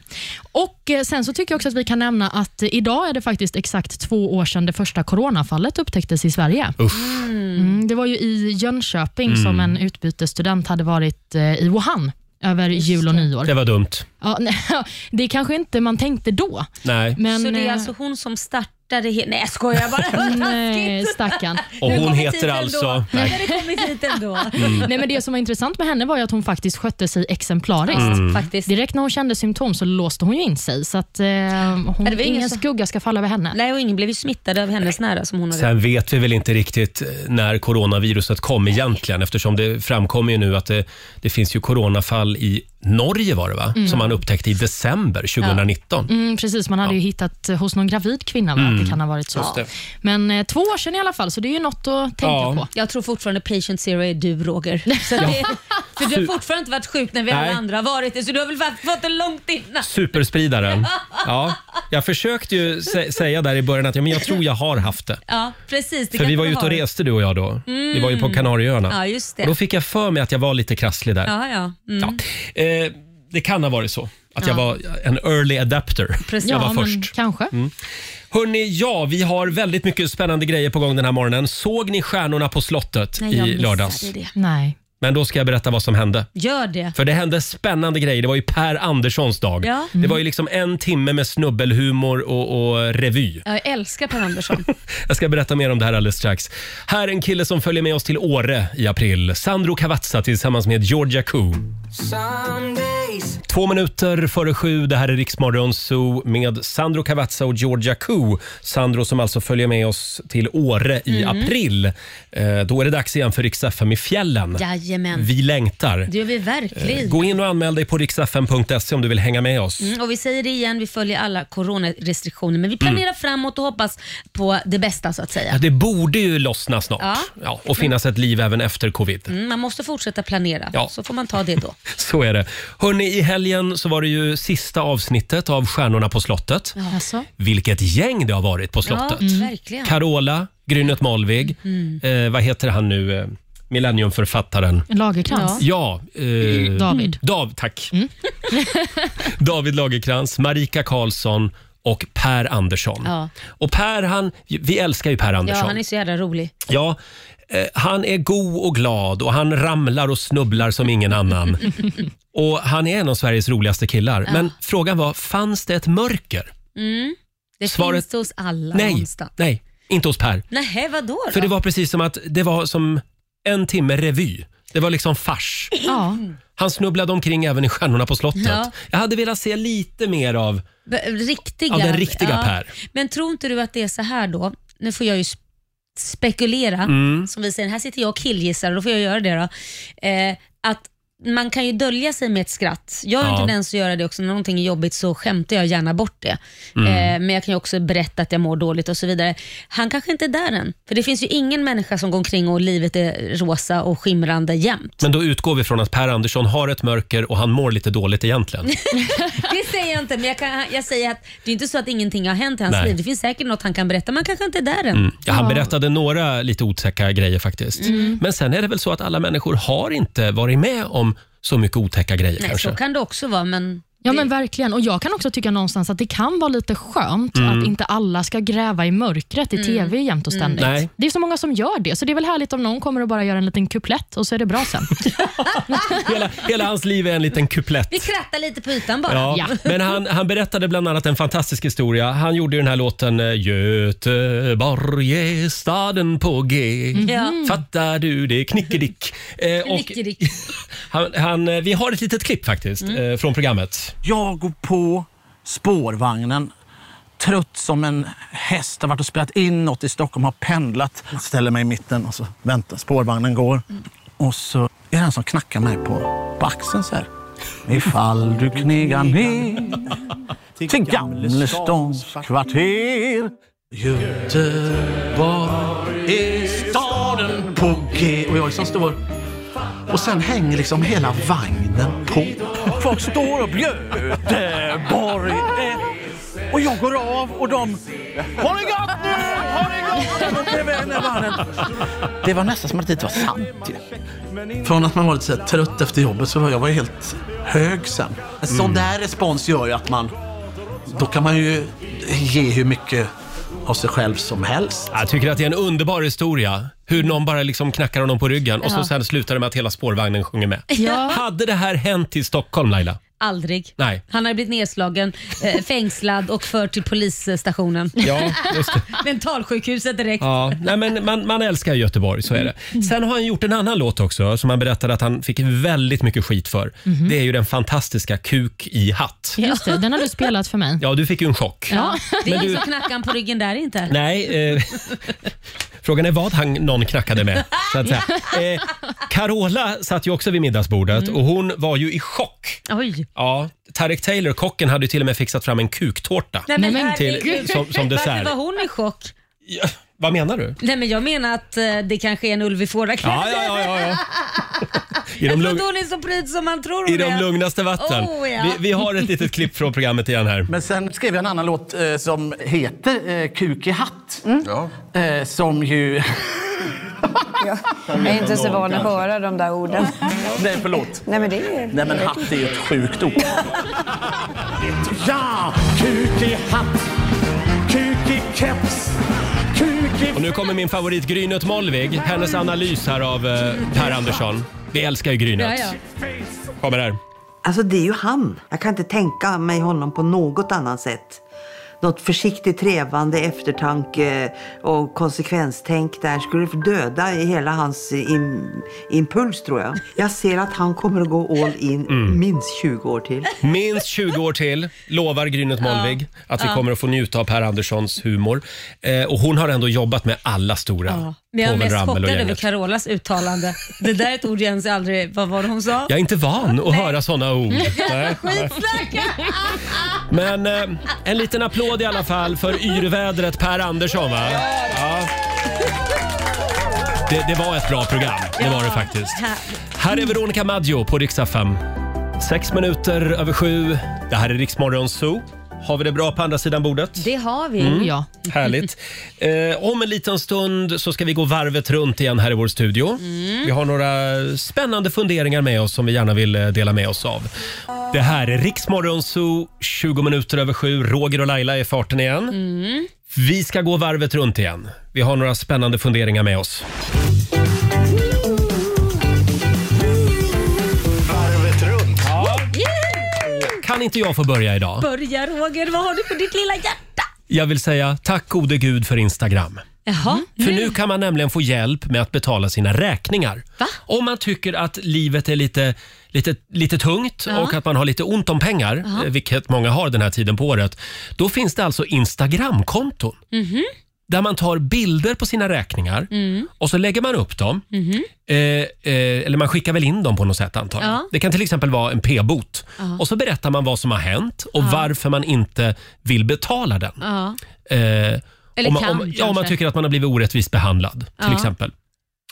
Och eh, Sen så tycker jag också att vi kan nämna att eh, idag är det faktiskt exakt två år sedan det första coronafallet upptäcktes i Sverige. Usch. Mm, det var ju i Jönköping som en utbytesstudent hade varit eh, i Wuhan över jul och nyår. Det var dumt. Ja, nej, det kanske inte man tänkte då. Nej. Men, så det är eh, alltså hon som startade he- Nej jag skojar bara. Nej, stackarn. Och Nu har hon vi tid heter ändå. alltså... Nu Nej. Mm. har det kommit hit ändå. Nej, men det som var intressant med henne var ju att hon faktiskt skötte sig exemplariskt. Faktiskt. Direkt när hon kände symptom så låste hon ju in sig, så att, eh, det hon, var ingen ingen som- skugga ska falla över henne. Nej och ingen blev ju smittad av hennes nära som hon hade. Sen vet vi väl inte riktigt eh, när coronaviruset kom egentligen eftersom det framkommer ju nu att det, det finns ju coronafall i Norge var det va? Mm. Som man upptäckte i december 2019. Mm, precis, man hade ju hittat eh, hos någon gravid kvinna va? att det kan ha varit så. Mm. Just det. Men eh, två år sedan i alla fall, så det är ju något att tänka Ja. på. Jag tror fortfarande patient zero är du Roger. Så det, för du har fortfarande inte varit sjuk när vi alla Nej. andra har varit det, så du har väl varit- fått det långt innan. Superspridaren. Ja, jag försökte ju sä- säga där i början att ja, men jag tror jag har haft det. Ja precis. Det För kan vi var du ju ute ha. Mm. och reste du och jag då. Vi var ju på Kanarieöarna. Ja, just det. Och då fick jag för mig att jag var lite krasslig där. Ja, ja. Mm, Ja. Eh, det kan ha varit så. Att jag var en early adapter. precis. Jag Ja, var men först. Mm. kanske. Hörni, ja, vi har väldigt mycket spännande grejer på gång den här morgonen. Såg ni Stjärnorna på slottet Nej, jag i lördags? missade det. Nej. Men då ska jag berätta vad som hände. Gör det. För det hände spännande grejer. Det var ju Per Anderssons dag. Ja. Mm. Det var ju liksom en timme med snubbelhumor och, och revy. Jag älskar Per Andersson. Jag ska berätta mer om det här alldeles strax. Här är en kille som följer med oss till Åre i april. Sandro Cavazza tillsammans med Georgia Koo. Två minuter före sju, det här är Riksmorgon Zoo med Sandro Cavazza och Georgia Koo. Sandro som alltså följer med oss till Åre i Mhm. april. Eh, då är det dags igen för Rix FM i fjällen. Jajamän. Vi Eh, längtar. Det gör vi verkligen. Gå in och anmäl dig på riksfm.se om du vill hänga med oss. Mm, och Vi säger det igen, vi följer alla coronarestriktioner men vi planerar Mm. framåt och hoppas på det bästa så att Ja, säga. det borde ju lossna snart Ja. Ja, och finnas ett liv även efter covid. Mm, man måste fortsätta planera, Ja. så får man ta det då. Så är det. Hörni, i helgen så var det ju sista avsnittet av Stjärnorna på slottet. Alltså. Vilket gäng det har varit på Ja, Mm. slottet. verkligen. Carola, Grynet Malvig, eh, vad heter han nu, eh, Millenniumförfattaren? Lagerkrans. Ja, eh, Mm, David. Dav, tack. David Lagerkrans, Marika Karlsson och Per Andersson. Ja. Och Per, han, vi älskar ju Per Ja, Andersson. han är så jävla rolig. Ja, eh, han är god och glad och han ramlar och snubblar som ingen annan. och Han är en av Sveriges roligaste killar. Men frågan var, fanns det ett mörker? Det Svaret- finns det hos alla Nej, någonstans. nej, inte hos Per. Nej, vadå då? För det var precis som att det var som en timme revy. Det var liksom fars. Ja. Han snubblade omkring även i Stjärnorna på slottet. Ja. Jag hade velat se lite mer av... B- Riktiga, Ja, den riktiga Per. Men tror inte du att det är så här då, nu får jag ju sp- spekulera, mm. som vi säger, här sitter jag och killgissar och då får jag göra det då. Eh, att man kan ju dölja sig med ett skratt. Jag har Ja. en tendens att göra det också, när någonting är jobbigt så skämtar jag gärna bort det. Mm. Eh, men jag kan ju också berätta att jag mår dåligt och så vidare. Han kanske inte är där än, för det finns ju ingen människa som går omkring och livet är rosa och skimrande jämt. Men då utgår vi från att Per Andersson har ett mörker och han mår lite dåligt egentligen. Det säger jag inte, men jag, kan, jag säger att det är inte så att ingenting har hänt i hans Nej. Mm. liv. Det finns säkert något han kan berätta, men han kanske inte är där än. Ja, han berättade några lite otäcka grejer faktiskt. Mm. Men sen är det väl så att alla människor har inte varit med om så mycket otäcka grejer Nej, kanske. så kan det också vara, men Ja men verkligen. Och Jag kan också tycka någonstans att det kan vara lite skönt Mm. att inte alla ska gräva i mörkret i Mm. TV jämt och ständigt. Nej. Det är så många som gör det, så det är väl härligt om någon kommer och bara gör en liten kuplett och så är det bra sen. Hela, hela hans liv är en liten kuplett. vi krattar lite på ytan bara. Ja, Ja. Men han, han berättade bland annat en fantastisk historia. Han gjorde ju den här låten eh, Göteborg är staden på G. Mm. Ja. Fattar du det? Knickedick. Eh, och Knickedick. Mm. han, han, eh, vi har ett litet klipp faktiskt eh, från programmet. Jag går på spårvagnen, trött som en häst, har varit och spelat in något i Stockholm, har pendlat. Ställer mig i mitten och så väntar spårvagnen går. Och så är det en som knackar mig på, på axeln så här. Ifall du knegar ner till Gamlestans kvarter. Göteborg är staden på G. Och jag som står Och sen hänger liksom hela vagnen på. Folk står och Göteborg eh, Och jag går av och de Har det gott nu! Har det gott! Och de drev iväg ner vagnen. Det var nästan som att det inte var sant ju. Från att man var lite så här trött efter jobbet så var jag var ju helt hög sen. En sån där respons gör ju att man då kan man ju ge hur mycket av sig själv som helst. Jag tycker att det är en underbar historia. Hur någon bara liksom knackar honom på ryggen och så Ja. sen slutar det med att hela spårvagnen sjunger med. Ja, Hade det här hänt i Stockholm Laila? Aldrig. Nej. Han har blivit nedslagen, eh, fängslad och förd till polisstationen. Ja, just det. Mentalsjukhuset direkt. Ja, nej, men man, man älskar Göteborg, så är Mm. det. Sen har han gjort en annan låt också som han berättade att han fick väldigt mycket skit för. Mhm. Det är ju den fantastiska Kuk i hatt. just det. Den har du spelat för mig. Ja, du fick ju en chock. Ja, det är Men du... du- så knackan på ryggen där inte. Nej, eh, frågan är vad han, någon knackade med. Så att säga. Eh, Carola satt ju också vid middagsbordet Mm. och hon var ju i chock. Oj. Ja, Tarek Taylor, kocken, hade ju till och med fixat fram en kuktårta. Nej, men till, herregud. som, som Varför dessert. var hon i chock? Ja, vad menar du? Nej, men jag menar att eh, det kanske är en ulv i fårakläder. Ja, ja, ja. ja, ja. I, de Jag tror lugn, inte hon är så pryd som man tror hon I de är. lugnaste vatten. Oh, ja. vi, vi har ett litet klipp från programmet igen här. Men sen skrev jag en annan låt eh, som heter eh, Kuk i hatt. Eh, som ju... Jag är inte så van att höra de där orden. Nej, förlåt. Nej, men det är Nej, men hatt är ju ett sjukt ord. ja! Kuk i hatt, kuk i keps, kuk i... Och nu kommer min favorit Grynet Molvig. Hennes analys här av eh, Per Andersson. Vi älskar ju Ja, Grynet. ja. Kommer här. Alltså det är ju han. Jag kan inte tänka mig honom på något annat sätt. Något försiktigt trevande, eftertanke och konsekvenstänk där skulle döda i hela hans im- impuls tror jag. Jag ser att han kommer att gå all in minst 20 år till. Minst 20 år till lovar Grynet Molvig att vi kommer att få njuta av Per Anderssons humor. Eh, och hon har ändå jobbat med alla stora. Ja. Men jag är Povel mest Ramel och chockad över gänget. Carolas uttalande. Det där är ett ord jag ens aldrig... Vad var det hon sa? Jag är inte van att höra såna ord. Nej. Skitsnack! Men eh, en liten applåd i alla fall för yrvädret Per Andersson va? Ja. Det, det var ett bra program, det var det faktiskt. Här är Veronica Maggio på riksdag 5. Sex minuter över sju. Det här är Riksmorgon Zoo. Har vi det bra på andra sidan bordet? Det har vi. Mm. Ja. Härligt. Eh, om en liten stund så ska vi gå varvet runt igen här i vår studio. Vi har några spännande funderingar med oss som vi gärna vill eh, dela med oss av. Det här är Riksmorgon Zoo, 20 minuter över sju. Roger och Laila är i farten igen. Vi ska gå varvet runt igen. Vi har några spännande funderingar med oss. Varvet runt. Kan inte jag få börja idag? Börja Roger, vad har du på ditt lilla hjärta? Jag vill säga tack gode gud för Instagram. Jaha. För nu kan man nämligen få hjälp med att betala sina räkningar. Om man tycker att livet är lite, lite, lite tungt och att man har lite ont om pengar, eh, vilket många har den här tiden på året, då finns det alltså Instagramkonton. Där man tar bilder på sina räkningar och så lägger man upp dem. Eh, eh, eller man skickar väl in dem på något sätt antar jag. Ja. Det kan till exempel vara en p-bot. Och så berättar man vad som har hänt och varför man inte vill betala den. Ja. Eh, Eller om, man- kan, om, ja, om man kanske. tycker att man har blivit orättvist behandlad till Ja. exempel.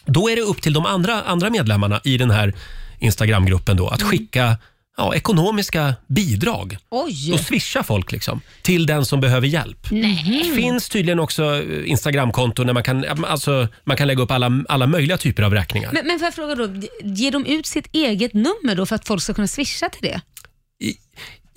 Då är det upp till de andra, andra medlemmarna i den här Instagramgruppen då, att Mm. skicka ja, ekonomiska bidrag. Då Oj. swishar folk liksom till den som behöver hjälp. Nej. finns tydligen också eh, Instagramkonton där man kan, alltså, man kan lägga upp alla, alla möjliga typer av räkningar. Men, men får jag fråga då, ger de ut sitt eget nummer då för att folk ska kunna swisha till det?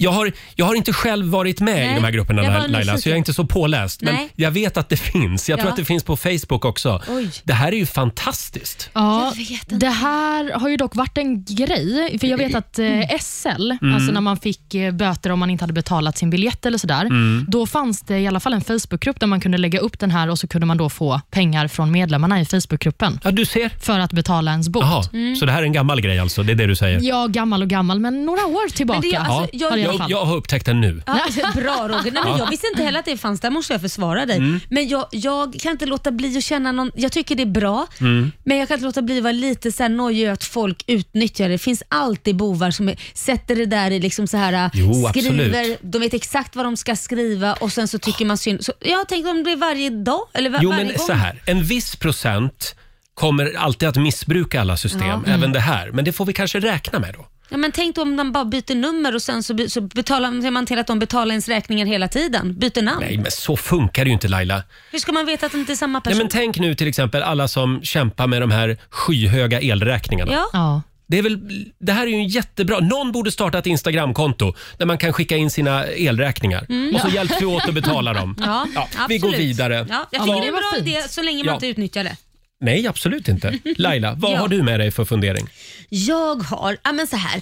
Jag har, jag har inte själv varit med i Nej, de här grupperna jag var Laila, så nyfiken. jag är inte så påläst. Men Nej. jag vet att det finns. Jag tror Ja. att det finns på Facebook också. Oj. Det här är ju fantastiskt. Ja, Jag vet inte. det här har ju dock varit en grej. För Jag vet att Mm. eh, SL, alltså när man fick eh, böter om man inte hade betalat sin biljett eller sådär, då fanns det i alla fall en Facebookgrupp där man kunde lägga upp den här och så kunde man då få pengar från medlemmarna i Facebookgruppen Ja, du ser. för att betala ens bot. Jaha, Mm. så det här är en gammal grej alltså? Det är det du säger? Ja, gammal och gammal, men några år tillbaka. Men det är- alltså, ja. jag- i alla jag, fall. jag har upptäckt den nu. Ja, bra Roger. Nej, men jag visste inte heller att det fanns. Där måste jag försvara dig. Mm. Men jag, jag kan inte låta bli att känna någon... Jag tycker det är bra, Mm. men jag kan inte låta bli att vara lite så här nojig över att folk utnyttjar det. Det finns alltid bovar som är, sätter det där i liksom så här... Jo, skriver, absolut. De vet exakt vad de ska skriva och sen så tycker man synd. Så jag tänker om det är varje dag eller var, Jo, varje men gång. så här. En viss procent kommer alltid att missbruka alla system, Ja. Mm. även det här. Men det får vi kanske räkna med då. Ja, men tänk då om de bara byter nummer och sen så, by- så betalar ser man till att de betalar ens räkningar hela tiden. Byter namn. Nej, men så funkar det ju inte Laila. Hur ska man veta att det inte är samma Nej, person? men tänk nu till exempel alla som kämpar med de här skyhöga elräkningarna. Ja. Det, är väl, det här är ju en jättebra... Någon borde starta ett Instagramkonto där man kan skicka in sina elräkningar Mm. och så Ja. hjälps vi åt att betala dem. Ja, vi absolut. går vidare. Ja, jag tycker Vad- det är en bra idé så länge man Ja. inte utnyttjar det. Nej, absolut inte. Laila, vad Ja. har du med dig för fundering? Jag har, ja men så här.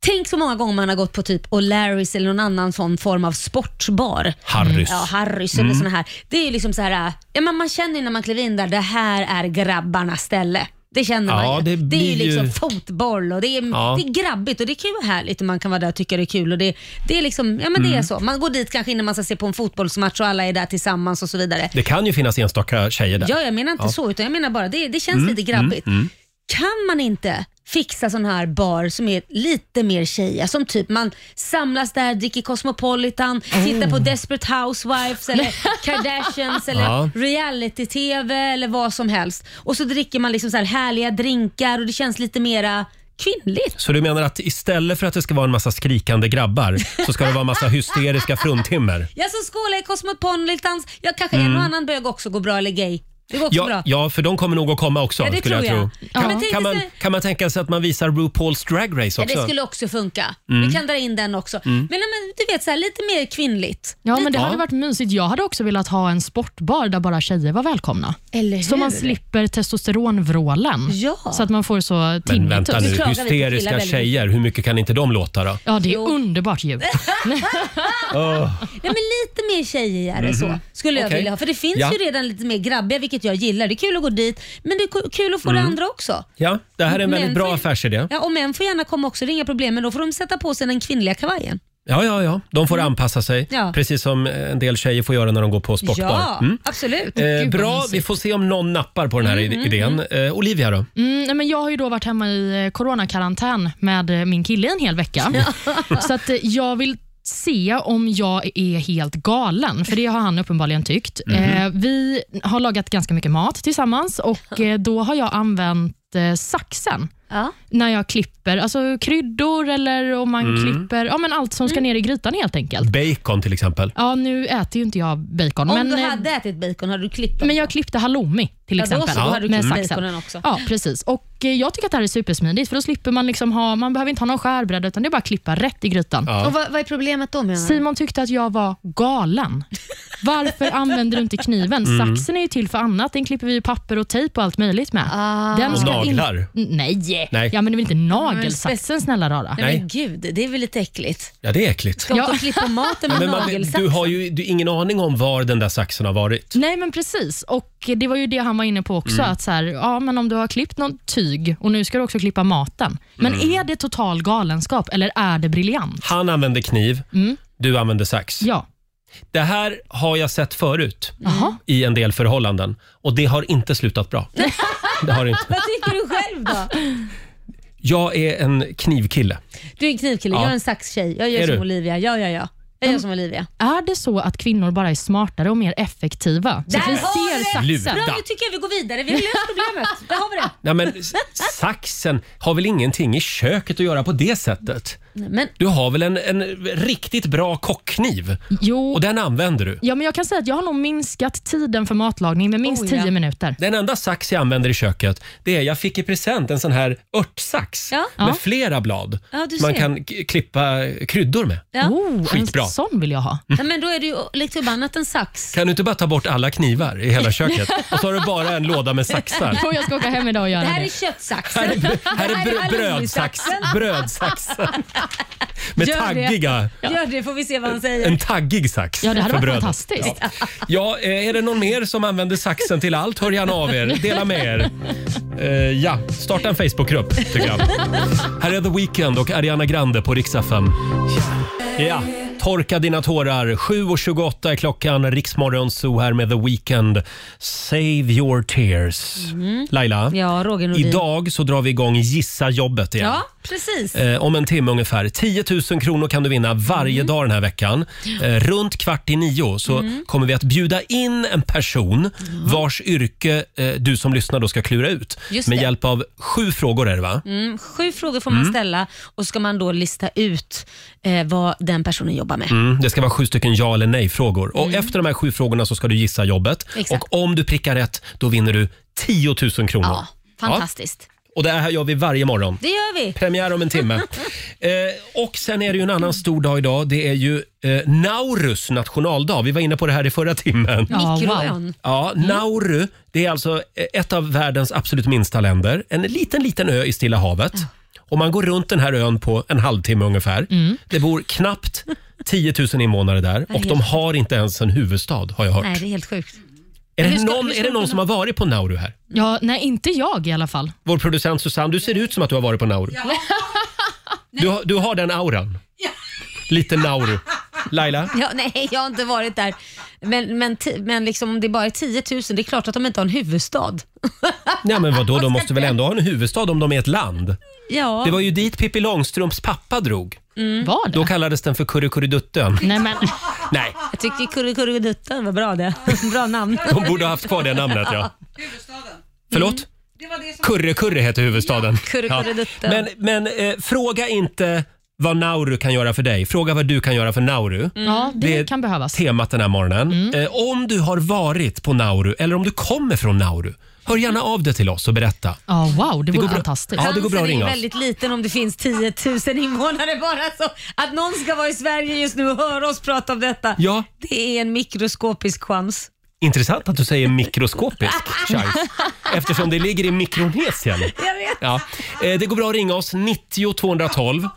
Tänk så många gånger man har gått på typ O'Larrys eller någon annan sån form av sportbar. Harrys. Ja, Harrys eller Mm. såna här. Det är ju liksom så här, äh, ja, men man känner ju när man kliver in där, det här är grabbarnas ställe. Det känner Ja, man ju. det Det är ju blir ju- liksom fotboll och det är, Ja. det är grabbigt och det är kul härligt och man kan vara där och tycka det är kul. Och det, det är liksom, ja men det är Mm. så. Man går dit kanske innan man ska se på en fotbollsmatch och alla är där tillsammans och så vidare. Det kan ju finnas enstaka tjejer där. Ja, jag menar inte Ja. så, utan jag menar bara det, det känns Mm, lite grabbigt. mm, mm. Kan man inte fixa sån här bar som är lite mer tjejiga? Som typ man samlas där, dricker Cosmopolitan, Oh. tittar på Desperate Housewives eller Kardashians eller Ja. reality-tv eller vad som helst. Och så dricker man liksom så här härliga drinkar och det känns lite mera kvinnligt. Så du menar att istället för att det ska vara en massa skrikande grabbar så ska det vara en massa hysteriska fruntimmer? Jag som skålar i Cosmopolitans, jag kanske en Mm. och annan bög också går bra eller gay. Det går också Ja, bra. ja, för de kommer nog att komma också Ja, det skulle jag, tror jag. tro. Ja, Kan, men tänk kan, man, dig- kan man tänka sig att man visar RuPaul's Drag Race Ja, också? det skulle också funka. Mm. Vi kan dra in den också. Mm. Men, nej, men du vet, så här, lite mer kvinnligt. Ja, lite... men det hade varit mysigt. Jag hade också velat ha en sportbar där bara tjejer var välkomna. Eller Så man hur? slipper testosteronvrålen. Ja. Så att man får så Men typ- vänta tinnitus. nu, hysteriska tjejer, hur mycket kan inte de låta då? Ja, det är underbart ljud. Åh. Nej, men lite mer tjejigare Mhm. så skulle jag Okej. vilja ha. För det finns Ja. ju redan lite mer grabbiga, vilket jag gillar. Det är kul att gå dit, men det är ku- kul att få Mm. det andra också. Ja, det här är en Men väldigt bra för- affärsidé. Ja, och män får gärna komma också, det är inga problem. Men då får de sätta på sig den kvinnliga kavajen. Ja, ja, ja. De får anpassa sig, Mm. Ja. precis som en del tjejer får göra när de går på sportbar. Ja, Mm. absolut. Eh, bra, vi får se om någon nappar på den Mm, här id- idén. Eh, Olivia då? Mm, nej, men jag har ju då varit hemma i eh, coronakarantän med eh, min kille en hel vecka. så att eh, jag vill se om jag är helt galen, för det har han uppenbarligen tyckt. Mhm. Eh, vi har lagat ganska mycket mat tillsammans och eh, då har jag använt eh, saxen när jag klipper alltså kryddor eller om man Mm. klipper ja, men allt som ska ner i grytan helt enkelt. Bacon till exempel. Ja, nu äter ju inte jag bacon. Om men, du eh, hade ätit bacon, hade du klippt men jag klippte halloumi till Ja, då exempel. så, då hade du med klippt saxen. baconen också. Ja, precis. Och eh, jag tycker att det här är supersmidigt för då slipper man liksom ha, man behöver inte ha någon skärbräda utan det är bara att klippa rätt i grytan. Och vad, vad är problemet då menar du? Simon tyckte att jag var galen. Varför använder du inte kniven? Mm. Saxen är ju till för annat. Den klipper vi ju papper och tejp och allt möjligt med. Ah. Och in- naglar. Nej. Nej. Ja, men det är väl inte speciellt- nagelsaxen snälla rara? Nej, men Nej. gud, det är väl lite äckligt. Ja, det är äckligt. Ska inte klippa maten Ja, med men man- nagelsax? du har ju du, ingen aning om var den där saxen har varit. Nej, men precis. Och Det var ju det han var inne på också. Mm. Att så här, ja, men Om du har klippt någon tyg och nu ska du också klippa maten. Men Mm. är det total galenskap eller är det briljant? Han använde kniv, Mm. du använde sax. Ja. Det här har jag sett förut Jaha. i en del förhållanden och det har inte slutat bra. Det har inte. Vad tycker du själv då? Jag är en knivkille. Du är en knivkille, Ja. jag är en saxtjej. Jag gör Är som du? Mm. Olivia. Ja, ja, ja. Jag gör som Olivia. Är det så att kvinnor bara är smartare och mer effektiva? Så Där att vi har ser vi det! saxen. Luta. Bra, nu tycker jag vi går vidare. Vi har löst problemet. Där har vi det. Nej, men s- saxen har väl ingenting i köket att göra på det sättet? Men, Du har väl en, en riktigt bra kockkniv? Jo. Och den använder du? Ja, men jag kan säga att jag har nog minskat tiden för matlagning med minst 10 minuter. Den enda sax jag använder i köket det är jag fick i present en sån här örtsax Ja. med Ja. flera blad. Ja, du man ser. kan k- klippa kryddor med. ja. Skitbra. Oh, sån vill jag ha. Ja, men då är det ju lite förbannat en sax. Kan du inte bara ta bort alla knivar i hela köket och så har du bara en låda med saxar? Jo, jag ska åka hem idag och göra Det här det. är köttsaxen. Här är, här är brö- brödsax, halloumisaxen. brödsaxen med Gör det. taggiga... Gör det, får vi se vad han säger. En taggig sax Ja, det hade för varit brödet. fantastiskt. Ja. Ja, eh, är det någon mer som använder saxen till allt? Hör gärna av er. Dela med er. Eh, ja, starta en Facebookgrupp tycker jag. Här är The Weeknd och Ariana Grande på Rix FM. Ja, Torka dina tårar. 7.28 är klockan. Riksmorgon Zoo här med The Weeknd. Save your tears. Mm. Laila, Ja, Roger Nordin. idag så drar vi igång Gissa jobbet igen. Ja, precis. Eh, om en timme ungefär. 10 000 kronor kan du vinna varje dag den här veckan. Ja. Eh, runt kvart i nio så Mm. kommer vi att bjuda in en person vars yrke eh, du som lyssnar då ska klura ut. Just med det. hjälp av sju frågor är det va? Mm, sju frågor får man Mm. ställa och ska man då lista ut eh, vad den personen jobbar med. Mm, det ska vara sju stycken ja eller nej-frågor. Och Mm. Efter de här sju frågorna så ska du gissa jobbet. Exakt. Och Om du prickar rätt, då vinner du 10 000 kronor. Ja, fantastiskt. Ja. Och Det här gör vi varje morgon. Det gör vi. Premiär om en timme. eh, och sen är det ju en annan stor dag idag. Det är ju eh, Naurus nationaldag. Vi var inne på det här i förra timmen. Ja, Mikroön. wow. Ja, Mm. Nauru, det är alltså eh, ett av världens absolut minsta länder. En liten, liten ö i Stilla havet. Och man går runt den här ön på en halvtimme ungefär. Mm. Det bor knappt 10 000 invånare där och de har inte ens en huvudstad har jag hört. Nej, det är helt sjukt. Är Men det, hur ska- någon, hur ska är det de någon kunna- som har varit på Nauru här? Ja, nej, inte jag i alla fall. Vår producent Susanne, du ser ut som att du har varit på Nauru. Du, har- du har den auran. Lite Nauru. Laila? Ja, nej, jag har inte varit där. Men, men, ti- men liksom, om det bara är 10 000, det är klart att de inte har en huvudstad. Nej men vadå, de måste väl ändå ha en huvudstad om de är ett land? Ja. Det var ju dit Pippi Långstrumps pappa drog. Mm. Då kallades den för Kurrekurredutten. Nej, men... Nej, Jag tyckte Kurrekurreduttan var bra det. bra namn. de borde ha haft kvar det namnet ja. Förlåt? Kurre-Kurre heter huvudstaden. Kurrekurredutten. Men, men eh, fråga inte vad Nauru kan göra för dig. Fråga vad du kan göra för Nauru. Ja, det är kan behövas. temat den här morgonen. Mm. Eh, om du har varit på Nauru eller om du kommer från Nauru, hör gärna av dig till oss och berätta. Ja, wow, det går vore bra- fantastiskt. Ja, det går bra att Chansen ringa är oss. väldigt liten om det finns 10 000 invånare bara. Så att någon ska vara i Sverige just nu och höra oss prata om detta, Ja. det är en mikroskopisk chans. Intressant att du säger mikroskopisk chans eftersom det ligger i Mikronesien. Jag vet. Ja. Eh, det går bra att ringa oss, 90 212,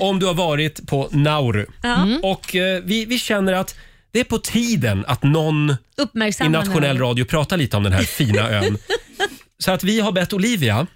om du har varit på Nauru. Ja. Mm. Och eh, vi, vi känner att det är på tiden att någon i Uppmärksamma nationell nu. radio pratar lite om den här fina ön. Så att vi har bett Olivia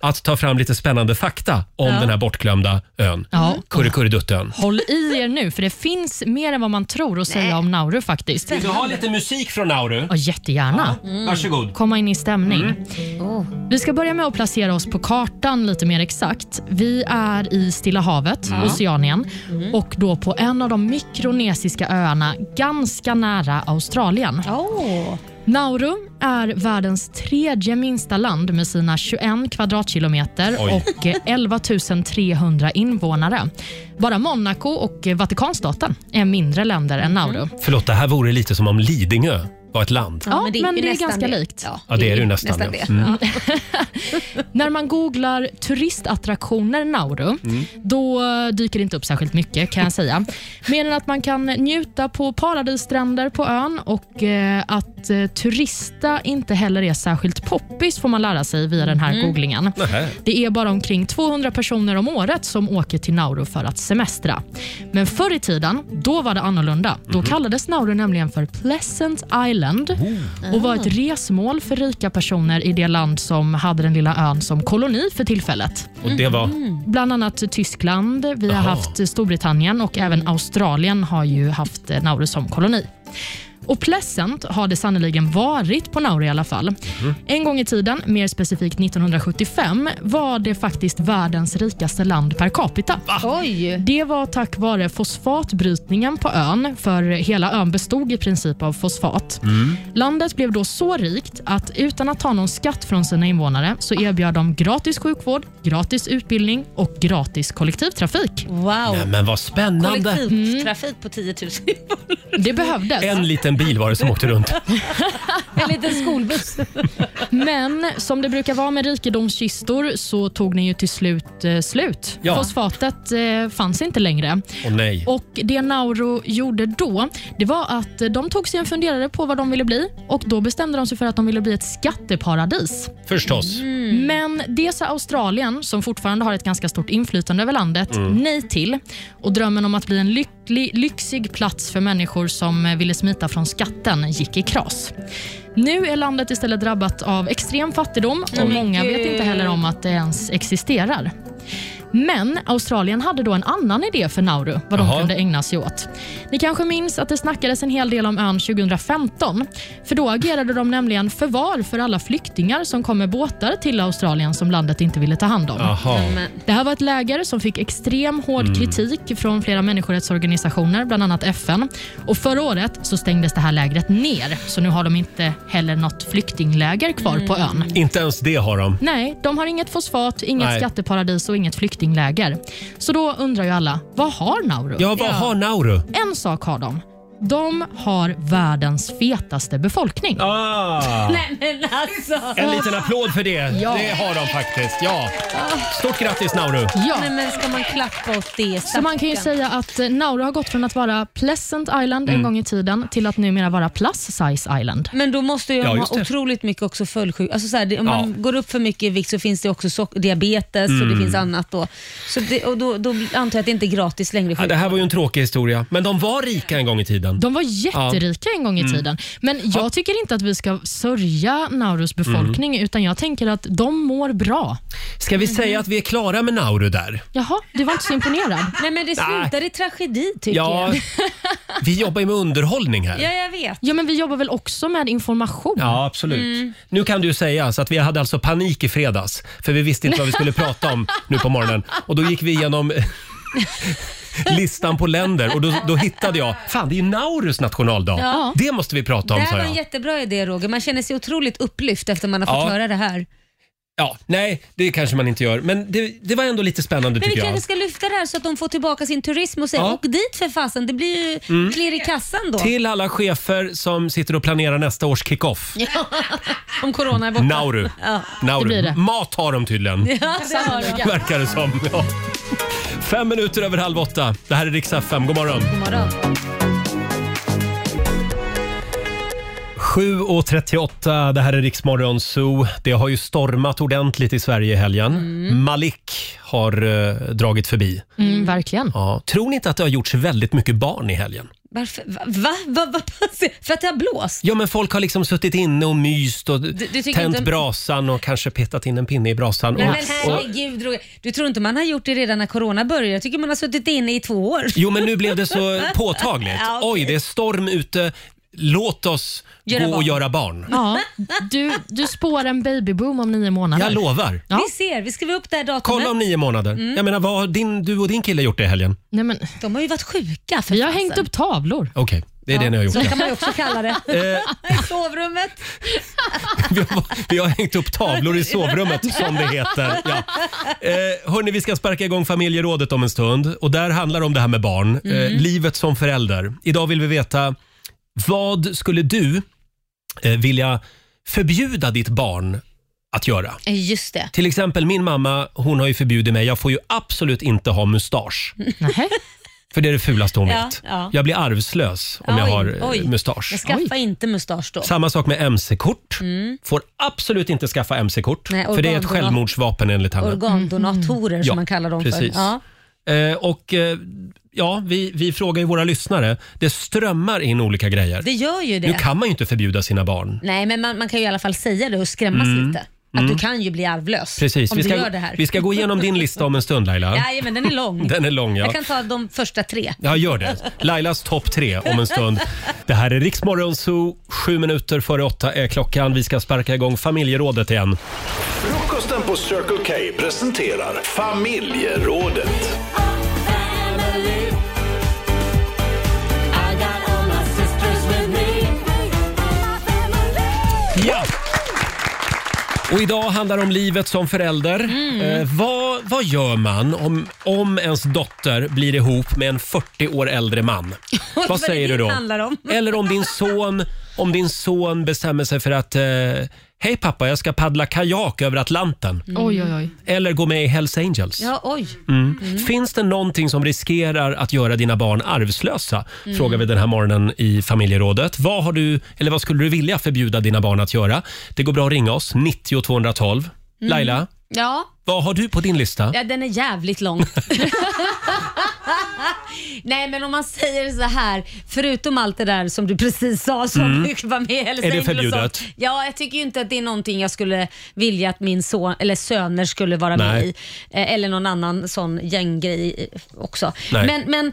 att ta fram lite spännande fakta om Ja. den här bortglömda ön, Ja. Kurrekurreduttön. Håll i er nu, för det finns mer än vad man tror att säga om Nauru faktiskt. Vill du ha lite musik från Nauru? Ja, jättegärna. Ja, varsågod. Komma in i stämning. Mm. Vi ska börja med att placera oss på kartan lite mer exakt. Vi är i Stilla havet, Ja. Oceanien, och då på en av de mikronesiska öarna ganska nära Australien. Oh. Nauru är världens tredje minsta land med sina 21 kvadratkilometer Oj. och eh, 11 300 invånare. Bara Monaco och eh, Vatikanstaten är mindre länder än Nauru. Förlåt, det här vore lite som om Lidingö var ett land. Ja, men det är, ganska likt. Ja, det Mm. är det ju nästan. Nästan ja. det. När man googlar turistattraktioner Nauru, Mm. då eh, dyker det inte upp särskilt mycket kan jag säga. Mer än att man kan njuta på paradisstränder på ön och eh, att eh, turista inte heller är särskilt poppis får man lära sig via den här Mm. googlingen. Nähä. Det är bara omkring 200 personer om året som åker till Nauru för att semestra. Men förr i tiden, då var det annorlunda. Då Mhm. kallades Nauru nämligen för Pleasant Island och var ett resmål för rika personer i det land som hade den lilla ön som koloni för tillfället. Och det var? Bland annat Tyskland, vi har Jaha. haft Storbritannien och även Australien har ju haft eh, Nauru som koloni. Och Pleasant har det sannoliken varit på Nauru i alla fall. En gång i tiden, mer specifikt 1975, var det faktiskt världens rikaste land per capita. Det var tack vare fosfatbrytningen på ön, för hela ön bestod i princip av fosfat. Landet blev då så rikt att utan att ta någon skatt från sina invånare så erbjöd de gratis sjukvård, gratis utbildning och gratis kollektivtrafik. Wow! Nej, men Mm. vad spännande! Kollektivtrafik på 10 000 Det behövdes. En liten bil var det som åkte runt. En liten skolbuss. Men som det brukar vara med rikedomskistor så tog den ju till slut eh, slut. Ja. Fosfatet eh, fanns inte längre. Åh nej. Och Det Nauru gjorde då det var att eh, de tog sig en funderare på vad de ville bli och då bestämde de sig för att de ville bli ett skatteparadis. Förstås. Mm. Men det sa Australien, som fortfarande har ett ganska stort inflytande över landet, Mm. nej till. Och Drömmen om att bli en lycklig, lyxig plats för människor som eh, ville smita från skatten gick i kras. Nu är landet istället drabbat av extrem fattigdom och Oj. många vet inte heller om att det ens existerar. Men Australien hade då en annan idé för Nauru, vad de Jaha. kunde ägna sig åt. Ni kanske minns att det snackades en hel del om ön 2015. För då agerade de nämligen förvar för alla flyktingar som kom med båtar till Australien som landet inte ville ta hand om. Jaha. Nämen. Det här var ett läger som fick extrem hård Mm. kritik från flera människorättsorganisationer, bland annat FN. Och Förra året så stängdes det här lägret ner, så nu har de inte heller något flyktingläger kvar på ön. Inte ens det har de. Nej, de har inget fosfat, inget Nej. skatteparadis och inget flyktingläger. Så då undrar ju alla, vad har Nauru? Ja, vad har Nauru? En sak har de. De har världens fetaste befolkning. Ah. Nej men alltså. En liten applåd för det. Ja. Det har de faktiskt. Ja. Stort grattis Nauru. Ja. Nej, men ska man klappa åt det? Så man kan ju säga att eh, Nauru har gått från att vara Pleasant Island en Mm. gång i tiden till att numera vara Plus Size Island. Men då måste ju Ja, de ha just det. otroligt mycket också följdsjuk. Alltså så här, det- om Ja. man går upp för mycket i vikt så finns det också sock- diabetes och det Mm. finns annat då. Så det, och då, då antar jag att det inte är gratis längre. Ja, det här var ju en tråkig historia, men de var rika en gång i tiden. De var jätterika en gång i Mm. tiden. Men jag tycker inte att vi ska sörja Naurus Mm. befolkning, utan jag tänker att de mår bra. Ska vi säga att vi är klara med Nauru där? Jaha, du var inte så imponerad. Nej, men det slutade i tragedi tycker Ja, jag. vi jobbar ju med underhållning här. jag vet. Ja, men vi jobbar väl också med information? Ja, absolut. Mm. Nu kan du säga så att vi hade alltså panik i fredags, för vi visste inte vad vi skulle prata om nu på morgonen. Och då gick vi igenom listan på länder och då, då hittade jag, fan det är ju Naurus nationaldag. Ja. Det måste vi prata det om, här sa var en jag. jättebra idé Roger. Man känner sig otroligt upplyft efter man har fått Ja. höra det här. Ja, nej, det kanske man inte gör, men det, det var ändå lite spännande Men vi tycker jag. kanske ska lyfta det här så att de får tillbaka sin turism och säga Ja. åk dit för fasen. Det blir ju Mm. klirr i kassan då. Till alla chefer som sitter och planerar nästa års kickoff. Ja. Om corona är borta. Nauru. Ja. Nauru. Det blir det. Mat har de tydligen. Ja, så har det. Verkar det som. Ja. Fem minuter över halv åtta. Det här är riks FM. God morgon. God morgon. 7.38, det här är Riksmorgon Zoo. Det har ju stormat ordentligt i Sverige i helgen. Mm. Malik har eh, dragit förbi. Mm, verkligen. Ja. Tror ni inte att det har gjorts väldigt mycket barn i helgen? Varför? Va? Va? Va? Va? alltså, För att det har blåst? Ja, men folk har liksom suttit inne och myst och du tycker tänt inte- brasan och kanske petat in en pinne i brasan. Nej, och, men och, herregud Roger. Du tror inte man har gjort det redan när corona började? Jag tycker man har suttit inne i två år. Jo, men nu blev det så påtagligt. Ja, okej. Oj, det är storm ute. Låt oss Göra gå och barn. göra barn. Ja, du, du spår en babyboom om nio månader. Jag lovar. Vi ser, vi skriver upp det här datumet. Kolla om nio månader. Mm. Jag menar, vad har din, du och din kille gjort det i helgen? Nej, men... De har ju varit sjuka för Vi har fasen. hängt upp tavlor. Okej, det är det ni har gjort. Så ja. kan man ju också kalla det. Eh. I sovrummet. Vi har hängt upp tavlor i sovrummet som det heter. Ja. Eh, hörni, vi ska sparka igång familjerådet om en stund. Och Där handlar det om det här med barn. Eh, Mm. livet som förälder. Idag vill vi veta, vad skulle du eh, vilja förbjuda ditt barn att göra? Eh, Just det. Till exempel min mamma, hon har ju förbjudit mig, jag får ju absolut inte ha mustasch. För det är det fulaste hon Ja, vet. ja. Jag blir arvslös om jag Oj, har eh, oj. mustasch. Men skaffa inte mustasch då. Samma sak med mc-kort. Mm. Får absolut inte skaffa mc-kort. Nej, För det är ett organdonat- självmordsvapen enligt henne. Organdonatorer Ja, som man kallar dem Mm. precis. för. Ja. Eh, och eh, ja, vi, vi frågar ju våra lyssnare. Det strömmar in olika grejer. Det gör ju det. Nu kan man ju inte förbjuda sina barn. Nej, men man, man kan ju i alla fall säga det och skrämmas Mm. lite. Att Mm. du kan ju bli arvlös Precis. om Vi du ska, gör det här. vi ska gå igenom din lista om en stund Laila. Jajamän, den är lång. Den är lång ja. Jag kan ta de första tre. Ja, gör det. Lailas topp tre om en stund. Det här är Riksmorgon Zoo. Sju minuter före åtta är klockan. Vi ska sparka igång familjerådet igen. Frukosten på Circle K presenterar Familjerådet. Ja! Och idag handlar det om livet som förälder. Mm. Eh, vad, vad gör man om, om ens dotter blir ihop med en 40 år äldre man? Vad vad säger det du då? handlar om. Eller om din son, om din son bestämmer sig för att eh, Hej pappa, jag ska paddla kajak över Atlanten. Mm. Oj, oj, oj. Eller gå med i Hells Angels. Ja, oj. Mm. Finns det någonting som riskerar att göra dina barn arvslösa? Mm. Frågar vi den här morgonen i familjerådet. Vad, har du, eller vad skulle du vilja förbjuda dina barn att göra? Det går bra att ringa oss, 90 212. Mm. Laila, Ja. vad har du på din lista? ja, den är jävligt lång. Nej, men om man säger så här, förutom allt det där som du precis sa som Mm. du var med i Hells Är det Angels och förbjudet? sånt. Ja, jag tycker ju inte att det är någonting jag skulle vilja att min son eller söner skulle vara med Nej. i. Eh, Eller någon annan sån gänggrej eh, också. Nej. Men, men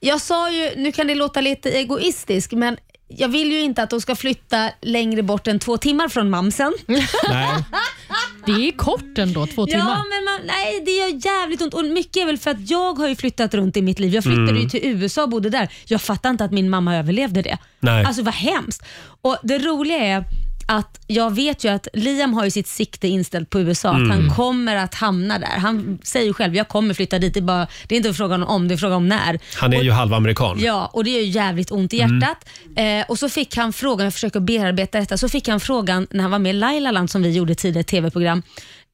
jag sa ju, nu kan det låta lite egoistisk, men jag vill ju inte att de ska flytta längre bort än två timmar från mamsen. Det är kort ändå, två timmar. Ja, men man, nej, det gör jävligt ont. Och mycket är väl för att jag har ju flyttat runt i mitt liv. Jag flyttade Mm. ju till USA och bodde där. Jag fattar inte att min mamma överlevde det. Nej. Alltså vad hemskt. Och det roliga är att jag vet ju att Liam har ju sitt sikte inställt på USA, Mm. att han kommer att hamna där. Han säger ju själv, jag kommer flytta dit. Det är, bara, det är inte frågan om, det är frågan om när. Han är ju halvamerikan. Ja, och det gör ju jävligt ont i Mm. hjärtat. Eh, och så fick han frågan, jag försöker bearbeta detta, så fick han frågan när han var med i Lailaland som vi gjorde tidigare, ett tv-program,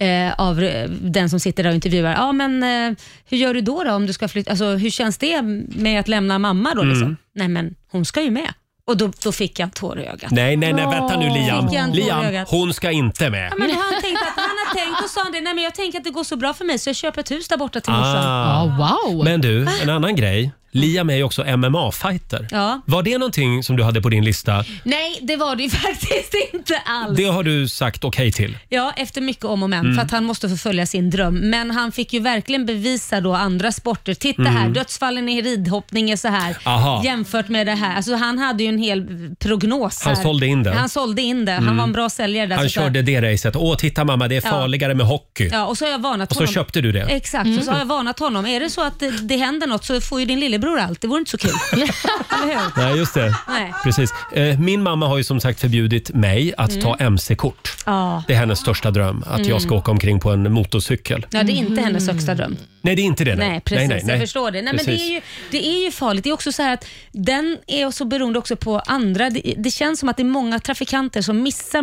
eh, av eh, den som sitter där och intervjuar. Ja, men eh, hur gör du då, då om du ska flytta? Alltså, hur känns det med att lämna mamma då? Liksom? Mm. Nej, men hon ska ju med. Och då, då fick jag en tår i ögat. Nej, nej, nej, vänta nu Liam. Fick jag en tår i Liam, ögat. hon ska inte med. Ja, men han, tänkte att, han har tänkt och sa han det, nej men jag tänker att det går så bra för mig så jag köper ett hus där borta till morsan. Ah. wow. Men du, en annan grej. Liam är ju också MMA-fighter. Ja. Var det någonting som du hade på din lista? Nej, det var det ju faktiskt inte alls. Det har du sagt okej till. Ja, efter mycket om och men Mm. för att han måste förfölja sin dröm. Men han fick ju verkligen bevisa då andra sporter. Titta här, Mm. dödsfallen i ridhoppning är så här Aha. jämfört med det här. Alltså han hade ju en hel prognos. Han här. sålde in det. Han sålde in det. Han Mm. var en bra säljare där. Han så att- körde det racet. Åh, titta mamma, det är Ja. farligare med hockey. Ja, och så har jag varnat Och så honom. köpte du det. Exakt, och så har jag varnat honom. Är det så att det, det händer något så får ju din lillebror allt. Det vore inte så kul. Eller hur? Nej, just det. Nej. Precis. Eh, Min mamma har ju som sagt förbjudit mig att Mm. ta mc-kort. Ja. Det är hennes största dröm, att jag ska Mm. åka omkring på en motorcykel. ja, det är inte hennes högsta dröm. Nej, det är inte det. Nej, precis. nej, nej. Jag förstår det. Nej, men det, Precis. är ju, det är ju farligt. Det är också så här att den är så beroende också på andra. Det, det känns som att det är många trafikanter som missar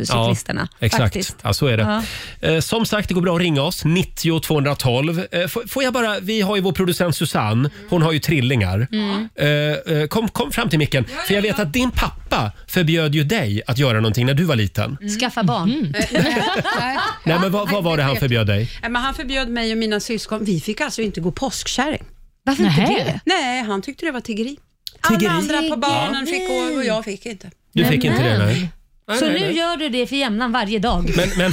motorcyklisterna. Ja, exakt. Faktiskt. Ja, så är det. Ja. Eh, Som sagt, det går bra att ringa oss. 90 212. Eh, får- Får jag bara, vi har ju vår producent Susanne. Hon har ju trillingar. Mm. Eh, eh, Kom, kom fram till micken. För jag vet att din pappa förbjöd ju dig att göra någonting när du var liten. Mm. Skaffa barn. Nej, men vad, vad var det han förbjöd dig? Nej, Men han förbjöd mig och mina syskon. Vi fick alltså inte gå påskkärring. Varför inte Nähä. det? Nej, han tyckte det var tiggeri. Tiggeri? Alla andra på barnen Tiggeri. fick gå och jag fick inte. Du fick inte det, nej. Så Nej, nej, nu nej. gör du det för jämnan varje dag? Men, men,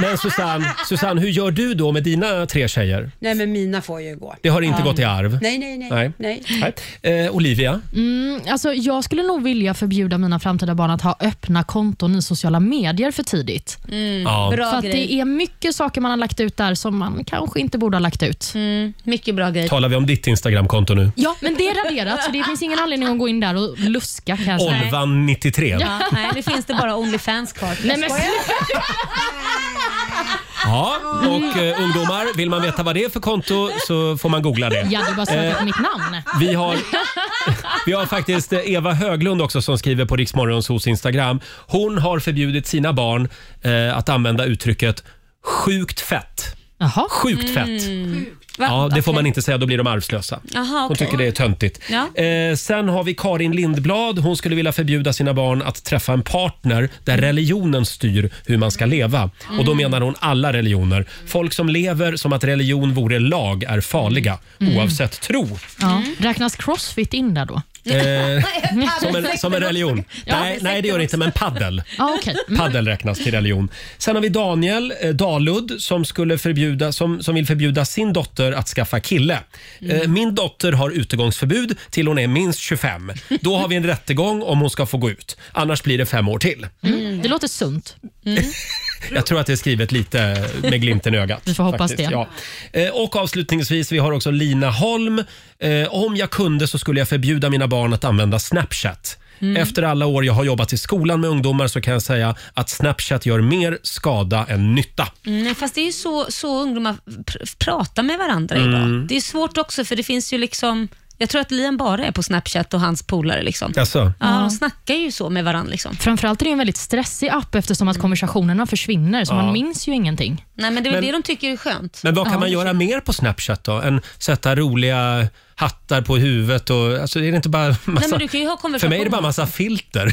men Susanne, Susanne, hur gör du då med dina tre tjejer? Nej, men mina får ju gå. Det har inte gått i arv? Nej, nej, nej. Nej. nej. Nej. Eh, Olivia? Mm, alltså jag skulle nog vilja förbjuda mina framtida barn att ha öppna konton i sociala medier för tidigt. Mm, Ja. Bra för att grej. det är mycket saker man har lagt ut där som man kanske inte borde ha lagt ut. mycket bra grej. Talar vi om ditt Instagramkonto nu? Ja, men det är raderat så det finns ingen anledning att gå in där och luska. Kan jag säga. Olvan93. Ja, nej, nu finns det bara Onlyfans kvar. Nej, men- Ja, och eh, ungdomar, vill man veta vad det är för konto så får man googla det. Ja, det är bara att söka på Eh, mitt namn. vi har, vi har faktiskt eh, Eva Höglund också som skriver på Riksmorgonsos Instagram. Hon har förbjudit sina barn eh, att använda uttrycket sjukt fett. Sjukt fett. Va? Ja, det får Mm. Okej. man inte säga, då blir de arvslösa. Aha, Hon okej. tycker det är töntigt. Ja. Eh, sen har vi Karin Lindblad. Hon skulle vilja förbjuda sina barn att träffa en partner där Mm. religionen styr hur man ska leva. Och då Mm. menar hon alla religioner. Folk som lever som att religion vore lag är farliga, Mm. oavsett tro. Ja. Räknas crossfit in där då? Eh, som, en, som en religion. Ja, nej, nej, det gör det inte, men paddel. Ja, okej. Paddel räknas till religion. Sen har vi Daniel eh, Dalud som, skulle förbjuda, som, som vill förbjuda sin dotter att skaffa kille. Eh, Min dotter har utegångsförbud till hon är minst 25. Då har vi en rättegång om hon ska få gå ut. Annars blir det fem år till. Mm. Det låter sunt. Jag tror att det är skrivet lite med glimten i ögat. Vi får hoppas det. Ja. Eh, Och avslutningsvis, vi har också Lina Holm. Eh, Om jag kunde så skulle jag förbjuda mina barn att använda Snapchat. Mm. Efter alla år jag har jobbat i skolan med ungdomar så kan jag säga att Snapchat gör mer skada än nytta. Mm, fast det är ju så, så ungdomar pr- pratar med varandra Mm. idag. Det är svårt också för det finns ju liksom, jag tror att Liam bara är på Snapchat och hans polare. Liksom. Jaså? Ja, de snackar ju så med varandra. Liksom. Framförallt är det en väldigt stressig app eftersom att konversationerna försvinner så Ja. man minns ju ingenting. Nej, men det är Men- väl det de tycker är skönt. Men vad kan Ja. man göra mer på Snapchat då? Än sätta roliga hattar på huvudet och... Alltså, är det inte bara massa... Nej, men du kan ju ha För mig är det bara konversationer. massa filter.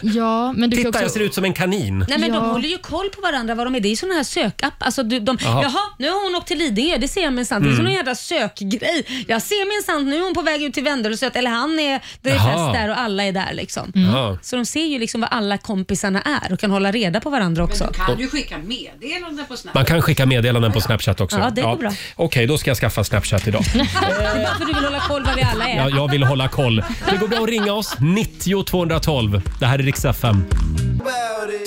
Ja, men du kan Titta, också... jag ser ut som en kanin. Nej men Ja. de håller ju koll på varandra. Vad de är. Det är ju såna här sökapp. Alltså, du, de, Jaha. jaha, nu har hon åkt till Lidingö. Det ser jag minsann. Det är Mm. sån jävla sökgrej. Jag ser minsann, nu är hon på väg ut till Vänderhusöt. Eller han är, det är Jaha. fest där och alla är där liksom. Mm. Jaha. Så de ser ju liksom vad alla kompisarna är och kan hålla reda på varandra också. Du kan ju skicka meddelanden på Snapchat. Man kan skicka meddelanden på Snapchat också. Ja, det går bra. Okej, då ska jag skaffa Snapchat idag. Bara för du vill hålla koll vad vi alla är. Jag, jag vill hålla koll. Det går bra att ringa oss. 90 212. Det här är riks FM.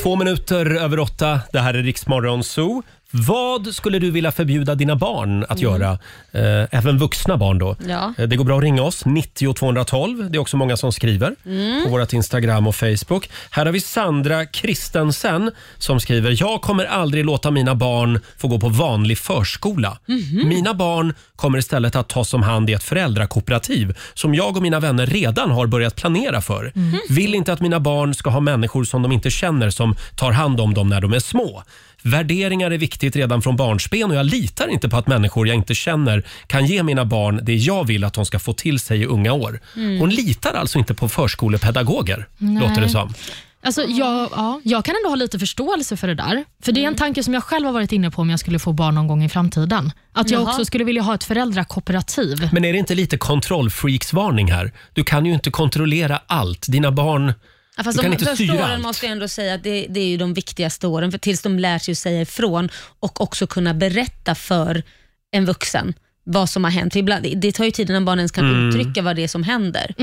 Två minuter över åtta. Det här är Riksmorgon Zoo. Vad skulle du vilja förbjuda dina barn att göra? Eh, även vuxna barn då. Mm. Ja. Eh, Det går bra att ringa oss. 90 212. Det är också många som skriver Mm. på vårt Instagram och Facebook. Här har vi Sandra Kristensen som skriver. Jag kommer aldrig låta mina barn få gå på vanlig förskola. Mhm. Mina barn kommer istället att tas om hand i ett föräldrakooperativ som jag och mina vänner redan har börjat planera för. Mhm. Vill inte att mina barn ska ha människor som de inte känner som tar hand om dem när de är små. Värderingar är viktigt redan från barnsben och jag litar inte på att människor jag inte känner kan ge mina barn det jag vill att de ska få till sig i unga år. Mm. Hon litar alltså inte på förskolepedagoger, Nej. låter det som. Alltså, jag, ja, jag kan ändå ha lite förståelse för det där. För Det är Mm. en tanke som jag själv har varit inne på om jag skulle få barn någon gång i framtiden. Att jag Jaha. också skulle vilja ha ett föräldrakooperativ. Men är det inte lite kontrollfreaks-varning här? Du kan ju inte kontrollera allt. Dina barn... Ja, fast du kan de inte första styra åren allt. måste jag ändå säga att det, det är ju de viktigaste åren, för tills de lär sig att säga ifrån och också kunna berätta för en vuxen vad som har hänt. För Ibland, det tar ju tid innan barnen ens kan Mm. uttrycka vad det är som händer.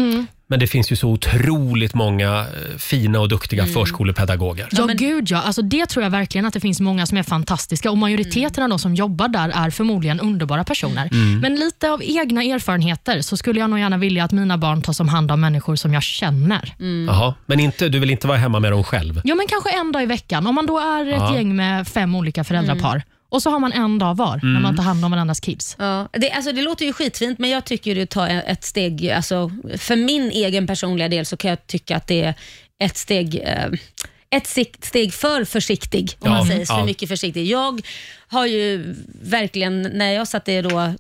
Men det finns ju så otroligt många eh, fina och duktiga Mm. förskolepedagoger. Ja, gud ja. Alltså, det tror jag verkligen att det finns många som är fantastiska och majoriteten Mm. av de som jobbar där är förmodligen underbara personer. Mm. Men lite av egna erfarenheter så skulle jag nog gärna vilja att mina barn tas om hand av människor som jag känner. Jaha, men inte, du vill inte vara hemma med dem själv? Ja, men kanske en dag i veckan. Om man då är ett Ja. gäng med fem olika föräldrapar och så har man en dag var när Mm. man tar hand om varandras kids. Ja, det, alltså det låter ju skitfint, men jag tycker ju att ta e- ett steg... Alltså, för min egen personliga del så kan jag tycka att det är ett steg... Eh, ett sikt- steg för försiktig, om Ja, man säger. ja. För mycket försiktig. Jag har ju verkligen, när jag satte då, eh,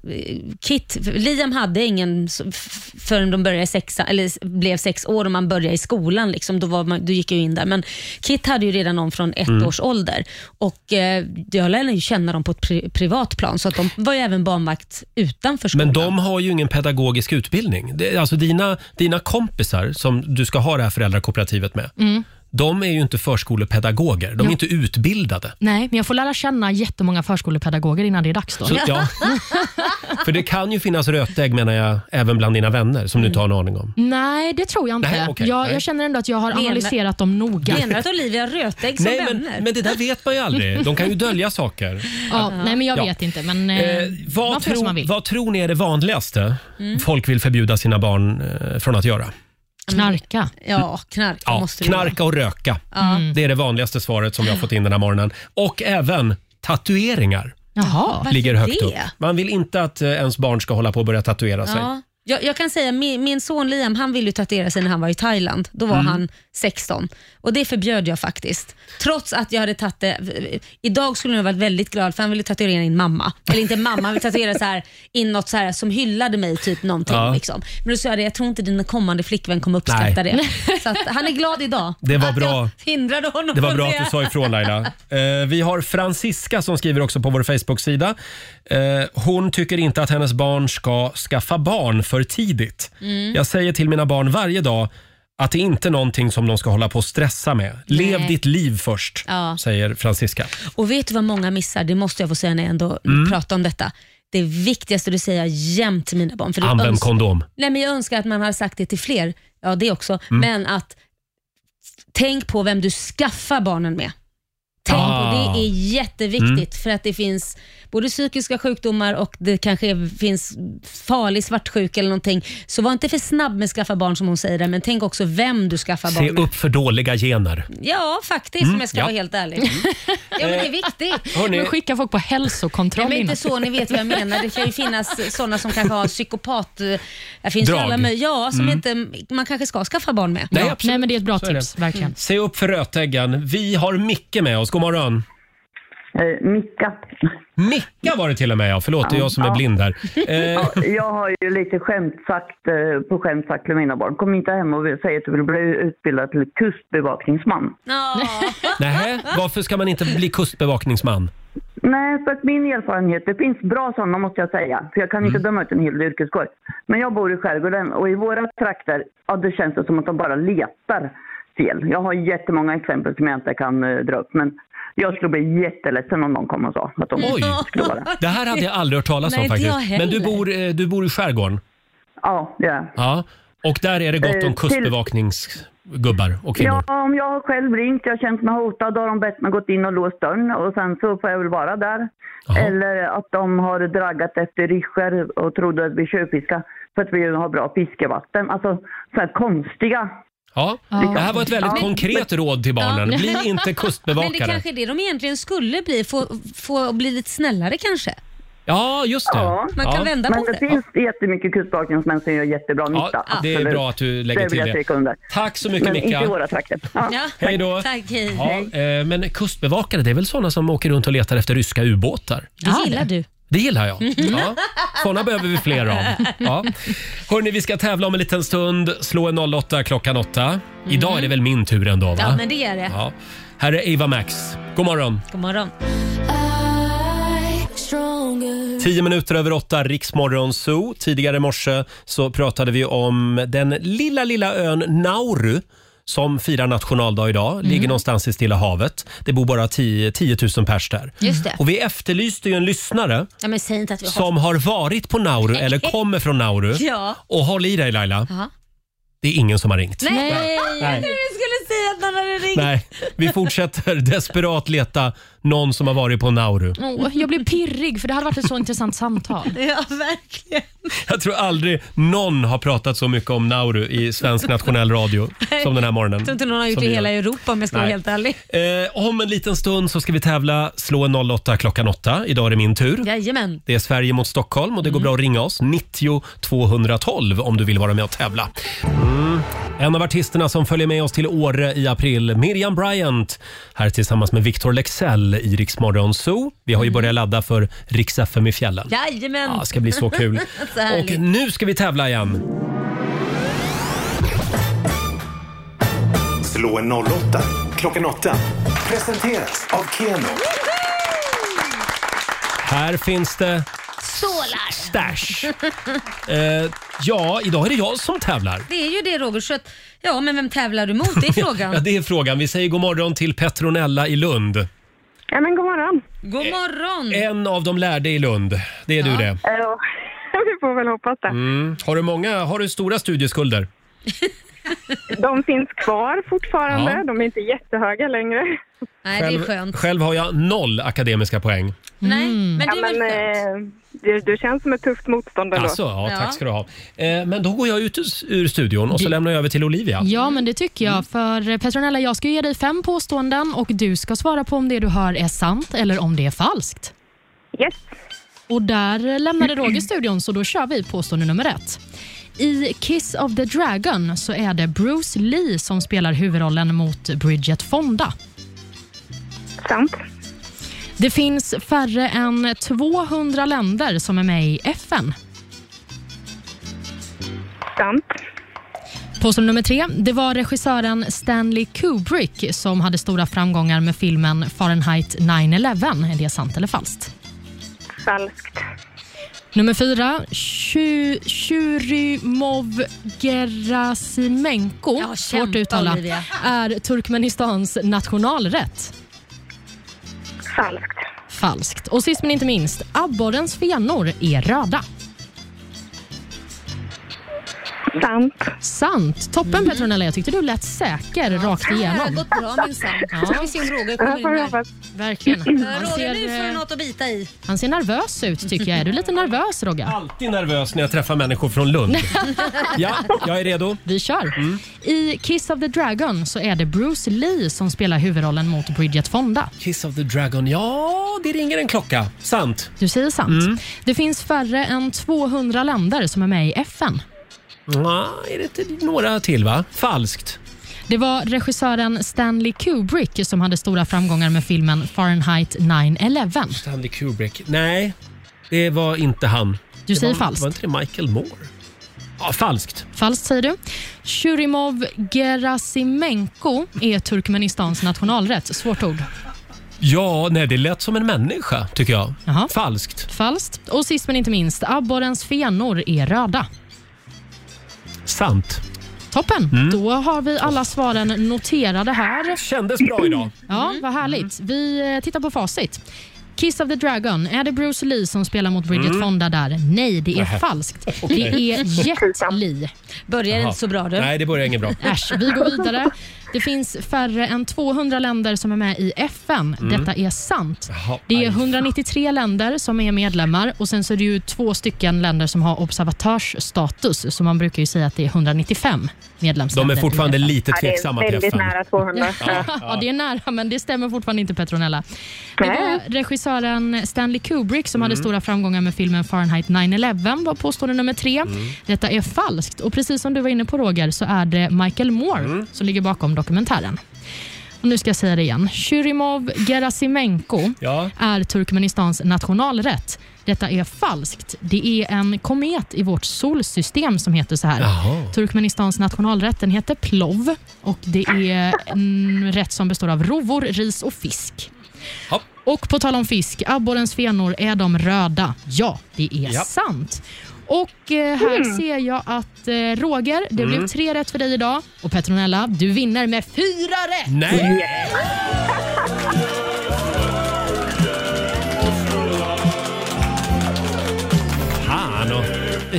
Kit, Liam hade ingen s- f- förrän de började sexa, eller s- blev sex år och man började i skolan. Liksom, då, var man, då gick jag ju in där. Men Kit hade ju redan någon från ett Mm. års ålder och eh, jag lärde ju känna dem på ett pri- privat plan, så att de var ju även barnvakt utanför skolan. Men de har ju ingen pedagogisk utbildning. Det, alltså dina, dina kompisar som du ska ha det här föräldrakooperativet med, Mm. de är ju inte förskolepedagoger. De är Ja. inte utbildade. Nej, men jag får lära känna jättemånga förskolepedagoger innan det är dags. Då. Så, ja. För det kan ju finnas rötägg menar jag, även bland dina vänner som du inte har en aning om. Nej, det tror jag inte. Nej, okej, jag, nej. jag känner ändå att jag har Menar- analyserat dem noga. Menar du att Olivia har rötägg som Nej, vänner? men, men det där vet man ju aldrig. De kan ju dölja saker. Ja, nej, men jag Ja. vet inte. Men, eh, Eh, man vad, får göra som tro, man vill. vad tror ni är det vanligaste Mm. folk vill förbjuda sina barn eh, från att göra? Knarka. Ja, knark Ja, måste det vara. knarka och röka. Ja. Mm. Det är det vanligaste svaret som vi har fått in den här morgonen. Och även tatueringar Jaha. ligger Varför högt det? upp. Man vill inte att eh, ens barn ska hålla på och börja tatuera sig. Ja. Jag, jag kan säga, min, min son Liam han ville ju tatuera sig när han var i Thailand. Då var Mm. han 16 och det förbjöd jag faktiskt. Trots att jag hade tagit det. Idag skulle jag ha varit väldigt glad för han ville tatuera in mamma. Eller inte mamma, han ville tatuera så här, in något så här, som hyllade mig, typ någonting. Ja. Liksom. Men då sa jag det, jag tror inte din kommande flickvän kommer uppskatta Nej. det. Så att, han är glad idag. Det var bra. Hindrade honom Det var från bra att du sa ifrån Laila. Eh, vi har Francisca som skriver också på vår Facebook-sida. Eh, hon tycker inte att hennes barn ska skaffa barn för tidigt. Mm. Jag säger till mina barn varje dag att det inte är någonting som de ska hålla på och stressa med. Lev Nej. ditt liv först, Ja. säger Francisca. Och vet du vad många missar? Det måste jag få säga när jag ändå Mm. pratar om detta. Det viktigaste du säger jag jämt till mina barn. För det Använd öns- kondom. Nej, men jag önskar att man hade sagt det till fler. Ja, det också. Mm. Men att tänk på vem du skaffar barnen med. Tänk Ah. på, det är jätteviktigt Mm. för att det finns både psykiska sjukdomar och det kanske finns farlig svartsjuka eller någonting. Så var inte för snabb med att skaffa barn som hon säger där, men tänk också vem du skaffar barn Se med. upp för dåliga gener. Ja, faktiskt Mm, om jag ska ja. vara helt ärlig. Ja, men det är viktigt. Hörni. Men skicka folk på hälsokontroll Nej, men inte innan. så, ni vet vad jag menar. Det kan ju finnas sådana som kanske har psykopat... eh, Det finns ju Drag. alla möjliga. Ja, som Mm. inte, man kanske ska skaffa barn med. Nej, Ja. absolut. Nej, men det är ett bra Så är det. Se upp för rötäggen. Vi har Micke med oss. God morgon. Eh, Micka. Micka var det till och med, ja. Förlåt, det är jag som är Ja. blind här. Eh, Ja, jag har ju lite skämt sagt, eh, på skämt sagt till mina barn. Kom inte hem och säg att du vill bli utbildad till kustbevakningsman. Nähä, varför ska man inte bli kustbevakningsman? Nej, för att min erfarenhet, det finns bra sådana måste jag säga, för jag kan inte döma ut en hel yrkeskår. Men jag bor i skärgården och i våra trakter, ja det känns det som att de bara letar fel. Jag har jättemånga exempel som jag inte kan eh, dra upp, men jag skulle bli jätteledsen om någon kom och sa att de Oj. skulle vara. Det här hade jag aldrig hört talas om Nej, inte jag faktiskt. Men du heller. bor, eh, du bor i skärgården? Ja, det gör jag. Ja, och där är det gott Eh, om till- kustbevakningsgubbar och kvinnor. Ja, om jag har själv ringt, jag har känt mig hotad, då har de bett mig gått in och låst dörren och sen så får jag väl vara där. Eller att de har draggat efter ryssjor och trodde att vi tjuvfiskade för att vi har bra fiskevatten. Alltså så här konstiga. Ja. Det här var ett väldigt Ja. konkret råd till barnen. Ja. Bli inte Men det kustbevakare. kanske är det de egentligen skulle bli, få, få bli lite snällare kanske. Ja, just det. ja. Men det. finns jättemycket kustbevakningsmän som gör jättebra nytta. Ja, det är absolut. bra att du lägger det vill till jag det. stryka under. Tack så mycket, Men Micka. inte i våra trakter. Ja. Hej då. Tack, Ja, eh, men kustbevakare, det är väl såna som åker runt och letar efter ryska ubåtar? Det gillar du. Det gillar jag. Mm. Ja. Såna behöver vi fler av. Ja. Hörni, vi ska tävla om en liten stund. Slå en 08 klockan 8. Idag är det väl min tur ändå? Va? Mm. Ja, men det är det. Ja. Här är Ava Max. God morgon. God morgon. Tio minuter över åtta, Riksmorgon Zoo. Tidigare i morse så pratade vi om den lilla, lilla ön Nauru som firar nationaldag idag. Mm. Ligger någonstans i Stilla havet. Det bor bara 10, 10 000 pers där. Just det. Och vi efterlyste ju en lyssnare Ja, men säg inte att vi har... som har varit på Nauru eller kommer från Nauru. Ja. Och håll i dig Laila, Jaha. det är ingen som har ringt. Nej, jag Nej. trodde du skulle säga att någon hade ringt. Nej, vi fortsätter desperat leta någon som har varit på Nauru. Mm. Åh, jag blev pirrig, för det hade varit ett så intressant samtal. Ja, verkligen. Jag tror aldrig någon har pratat så mycket om Nauru i svensk nationell radio som den här morgonen. Jag tror inte någon har gjort Som det i vi hela gör. Europa om jag ska vara Nej. helt ärlig. Eh, om en liten stund så ska vi tävla Slå en 08 klockan 8. Idag är det min tur. Jajamän. Det är Sverige mot Stockholm och det Mm. går bra att ringa oss. 90 212 om du vill vara med och tävla. Mm. En av artisterna som följer med oss till Åre i april, Miriam Bryant, här tillsammans med Victor Lexell i Rix Morgon Zoo. Vi Mm. har ju börjat ladda för Rix FM i fjällen. Jajamän. Ja, det ska bli så kul. så härligt. och nu ska vi tävla igen. Slå en 08 klockan 8. Presenteras av Keno. Här finns det Stålar. stash. Eh, ja, idag är det jag som tävlar. Det är ju det Roger, så att, ja men vem tävlar du mot? Det är frågan. Ja, det är frågan. Vi säger god morgon till Petronella i Lund. Ja, men god morgon. God morgon. En av de lärde i Lund. Det är du det. Ja, vi får väl hoppas det. Mm. Har du många, har du stora studieskulder? De finns kvar fortfarande. Ja. De är inte jättehöga längre. Nej, Själv, Mm. själv har jag noll akademiska poäng. Nej, men det är väl eh, skönt? eh, Du, du känns som ett tufft motstånd ändå. Alltså, ja, tack ska du ha. Eh, men då går jag ut ur- ur studion och så lämnar jag över till Olivia. Ja, men det tycker Mm. jag. För eh, Petronella, jag ska ge dig fem påståenden och du ska svara på om det du hör är sant eller om det är falskt. Yes. Och där lämnade Roger studion, så då kör vi påstående nummer ett. I Kiss of the Dragon så är det Bruce Lee som spelar huvudrollen mot Bridget Fonda. Sant. Det finns färre än 200 länder som är med i FN. Sant. Påstående nummer tre. Det var regissören Stanley Kubrick som hade stora framgångar med filmen Fahrenheit 9-11. Är det sant eller falskt? Falskt. Nummer fyra. Tju- Tjurimov Gerasimenko, svårt att uttala, Olivia. är Turkmenistans nationalrätt. Falskt. Falskt. Och sist men inte minst, abborrens fenor är röda. Sant. Sant. Toppen Mm. Petronella, jag tyckte du lät säker rakt Det här har igenom. gått bra minsann. Ja. Ska vi se om Roger Ja, kommer får jag in här. Verkligen. Ja, Han Roger, nu ser, får du eh, något att bita i. Han ser nervös ut tycker jag. Är du lite nervös Rogge? Alltid nervös när jag träffar människor från Lund. Ja, jag är redo. Vi kör. I Kiss of the Dragon så är det Bruce Lee som spelar huvudrollen mot Bridget Fonda. Kiss of the Dragon, ja det ringer en klocka. Sant. Du säger sant. Mm. Det finns färre än 200 länder som är med i FN. Nja, är det inte några till va? Falskt. Det var regissören Stanley Kubrick som hade stora framgångar med filmen Fahrenheit 9-11. Stanley Kubrick. Nej, det var inte han. Du det säger var, falskt. Var inte det Michael Moore? Ja, falskt. Falskt säger du. Shurimov Gerasimenko är Turkmenistans nationalrätt. Svårt ord. Ja, nej, det lät som en människa tycker jag. Falskt. Falskt. Och sist men inte minst, abborrens fenor är röda. Sant. Toppen! Mm. Då har vi alla svaren noterade här. Kändes bra idag. Ja, vad Mm. härligt. Vi eh, tittar på facit. Kiss of the Dragon. Är det Bruce Lee som spelar mot Bridget Mm. Fonda där? Nej, det är Nähä. falskt. Okej. Det är Jet Li. Börjar Jaha. inte så bra du. Nej, det börjar inget bra. Äsch, vi går vidare. Det finns färre än 200 länder som är med i FN. Mm. Detta är sant. Jaha, Det är 193 länder som är medlemmar och sen så är det ju två stycken länder som har observatörsstatus, så man brukar ju säga att det är 195 medlemsländer. De är fortfarande i FN. lite Ja, det är tveksamma till väldigt FN. nära 200. Ja, Ja. ja, det är nära, men det stämmer fortfarande inte Petronella. Det var regissören Stanley Kubrick som hade Mm. stora framgångar med filmen Fahrenheit 9-11 var påstående nummer tre. Detta är falskt och precis som du var inne på Roger så är det Michael Moore som ligger bakom dokumentären. Och nu ska jag säga det igen. Shurimov Gerasimenko Ja. är Turkmenistans nationalrätt. Detta är falskt. Det är en komet i vårt solsystem som heter så här. Jaha. Turkmenistans nationalrätt den heter plov och det är en rätt som består av rovor, ris och fisk. Och på tal om fisk, abborrens fenor, är de röda? Ja, det är Ja. sant. Och eh, här Mm. ser jag att eh, Roger, det Mm. blev tre rätt för dig idag. Och Petronella, du vinner med fyra rätt! Nej! Han och... Det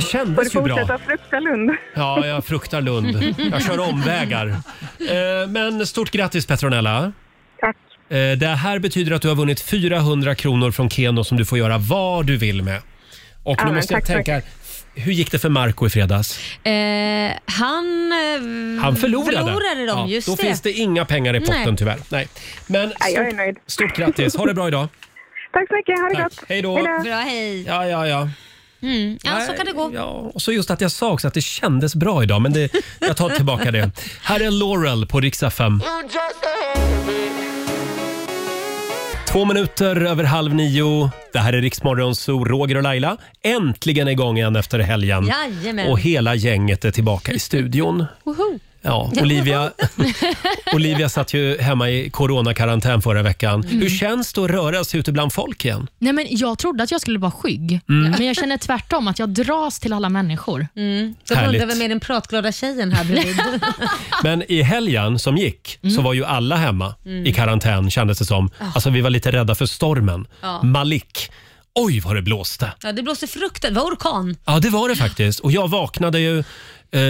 Får du kändes ju fortsätta bra. frukta Lund? Ja, jag fruktar Lund. Jag kör omvägar. Eh, Men stort grattis Petronella. Tack. Eh, Det här betyder att du har vunnit 400 kronor från Keno som du får göra vad du vill med. Och Ja, nu men måste jag tack så tänka, mycket. hur gick det för Marco i fredags? Eh, han, eh, Han förlorade. förlorade dem, Ja, just då det. finns det inga pengar i potten Nej. tyvärr. Nej. Men stort, jag är nöjd. stort grattis, ha det bra idag. Tack så mycket, ha det Tack. gott. Hej då. Bra, hej. Ja, ja, ja. Mm. Ja, så Nej, kan det gå. Ja, och så just att jag sa också att det kändes bra idag, men det, jag tar tillbaka det. Här är Laurel på riksdag 5. Två minuter över halv nio. Det här är Riksmorgon Zoo, Roger och Laila. Äntligen igång igen efter helgen. Jajamän. Och hela gänget är tillbaka i studion. Woho. Ja, Olivia, Olivia satt ju hemma i coronakarantän förra veckan. Mm. Hur känns det att röra sig ute bland folk igen? Nej, men jag trodde att jag skulle vara skygg, Mm. men jag känner tvärtom att jag dras till alla människor. Mm. De Härligt. undrar vem är den pratglada tjejen här bredvid. Men i helgen som gick så var ju alla hemma Mm. i karantän kändes det som. Ah. Alltså vi var lite rädda för stormen. Ja. Malik. Oj vad det blåste. ja, det blåste fruktansvärt. Det var orkan. Ja det var det faktiskt. Och jag vaknade ju eh,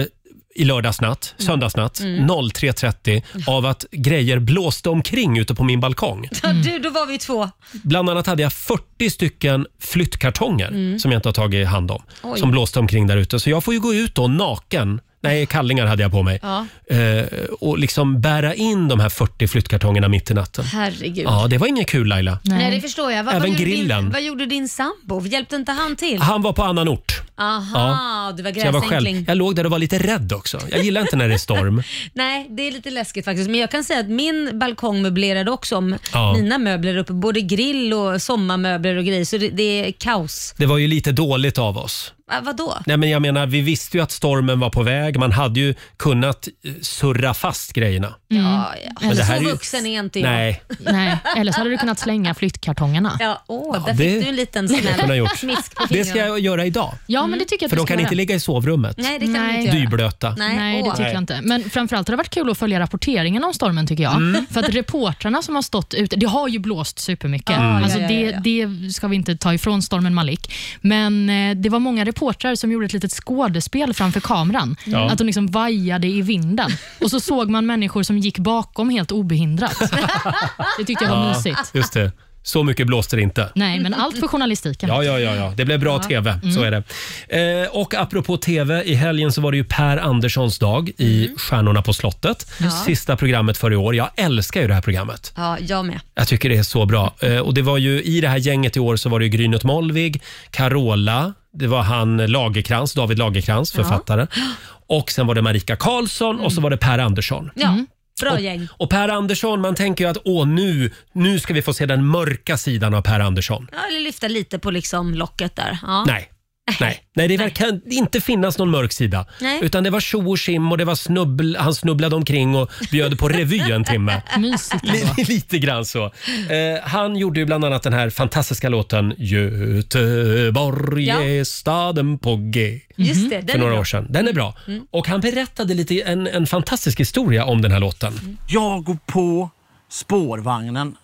i lördagsnatt, söndagsnatt, Mm. 03.30 av att grejer blåste omkring ute på min balkong. Ja, du, då var vi två. Bland annat hade jag 40 stycken flyttkartonger Mm. som jag inte har tagit hand om. Oj. Som blåste omkring där ute. Så jag får ju gå ut då naken. Nej, kallingar hade jag på mig. Ja. Eh, och liksom bära in de här 40 flyttkartongerna mitt i natten. Herregud. Ja, det var ingen kul Laila. Nej. det förstår jag. Även gjorde grillen. Din, vad gjorde din sambo? Hjälpte inte han till? Han var på annan ort. Aha, du var Så jag, var själv. gräsänkling. jag låg där och var lite rädd också. Jag gillar inte när det är storm. Nej, det är lite läskigt faktiskt. Men jag kan säga att min balkong möblerade också om Ja. mina möbler uppe. Både grill och sommarmöbler och grejer. Så det, det är kaos. Det var ju lite dåligt av oss. Ah, vadå? Nej, men jag menar, vi visste ju att stormen var på väg. Man hade ju kunnat eh, surra fast grejerna. Ja, ja. Men det här är så ju- vuxen är inte jag. Nej, Nej, eller så hade du kunnat slänga flyttkartongerna. Ja, åh, där det- fick du en liten skulle jag kunna snäll gjort. smisk på Det ska fingrarna. jag göra idag. Ja, men det tycker jag att För du de ska kan göra. inte ligga i sovrummet. Nej, det kan Nej. de inte göra. Dyblöta. Nej, Nej, det åh. tycker jag inte. Men framförallt har det varit kul att följa rapporteringen om stormen tycker jag. Mm. För att reportrarna som har stått ute, det har ju blåst supermycket. Mm. Alltså Ja, ja, det, det ska vi inte ta ifrån stormen Malik. Men eh, det var många reportrar som gjorde ett litet skådespel framför kameran. Ja. Att de liksom vajade i vinden. Och så såg man människor som gick bakom helt obehindrat. Det tyckte jag var Ja, mysigt. Just det. Så mycket blåste det inte. Mm. Nej, men allt för journalistiken. Ja, ja, ja, ja. Det blev bra Ja. tv. Mm. Så är det. Eh, och apropå tv, i helgen så var det ju Per Anderssons dag i Stjärnorna på slottet. Mm. Ja. Sista programmet för i år. Jag älskar ju det här programmet. Ja, jag med. Jag tycker det är så bra. Mm. Eh, och det var ju, I det här gänget i år så var det ju Grynet Molvig, Carola, det var han Lagerkrans, David Lagerkrans, Ja. Mm. författare. Och sen var det Marika Karlsson och så var det Per Andersson. Mm. Ja. Bra och, gäng. Och Per Andersson, man tänker ju att åh, nu, nu ska vi få se den mörka sidan av Per Andersson. Ja, eller lyfta lite på liksom locket där. Ja. Nej. Nej. Nej, det verkar inte finnas någon mörk sida. Nej. Utan det var tjo och tjim och det var snubbl, han snubblade omkring och bjöd på revy en timme. Mysigt ändå. Li- Lite grann så. Eh, han gjorde ju bland annat den här fantastiska låten Göteborg Ja. är staden på G. Just det, den Mm. För är några bra. Mm. år sedan. Den är bra. Och han berättade lite en, en fantastisk historia om den här låten. Jag går på spårvagnen,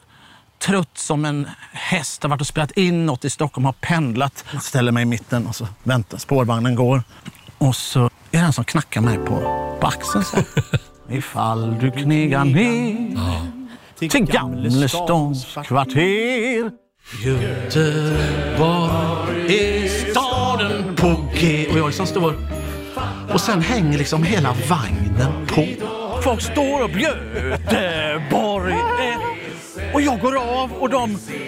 trött som en häst, har varit och spelat in något i Stockholm, har pendlat. Ställer mig i mitten och så väntar spårvagnen går. Och så är det en som knackar mig på, på axeln. Så här. Ifall du knegar ner till Gamlestans kvarter Göteborg är staden på G. Och jag liksom står och sen hänger liksom hela vagnen på. Folk står och Göteborg är- Och jag går av och de...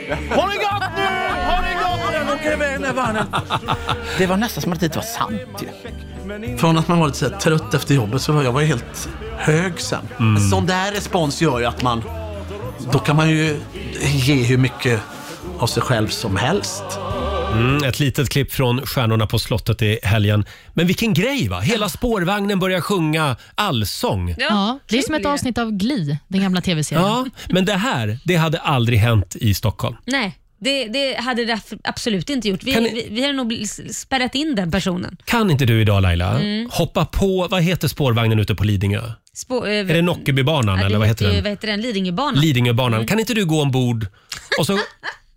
Har det gott nu! Har det gott! nu?" De åker iväg med vagnen. Det var nästan som att det inte var sant ju. Från att man var lite så här trött efter jobbet så var jag var ju helt hög sen. En sån där respons gör ju att man... Då kan man ju ge hur mycket av sig själv som helst. Mm, ett litet klipp från Stjärnorna på slottet i helgen. Men vilken grej va? Hela spårvagnen börjar sjunga allsång. Ja, det är som ett avsnitt av Glee, den gamla tv-serien. Ja, men det här, det hade aldrig hänt i Stockholm. Nej, det, det hade det därför absolut inte gjort. Vi, Kan ni- vi, vi hade nog bl- s- spärrat in den personen. Kan inte du idag Laila, Mm. hoppa på, vad heter spårvagnen ute på Lidingö? Spå, eh, Är det Nockebybanan eller vad heter ju- Mm. den? eh, Vad heter den? Lidingöbanan. Lidingöbanan. Kan inte du gå ombord och så,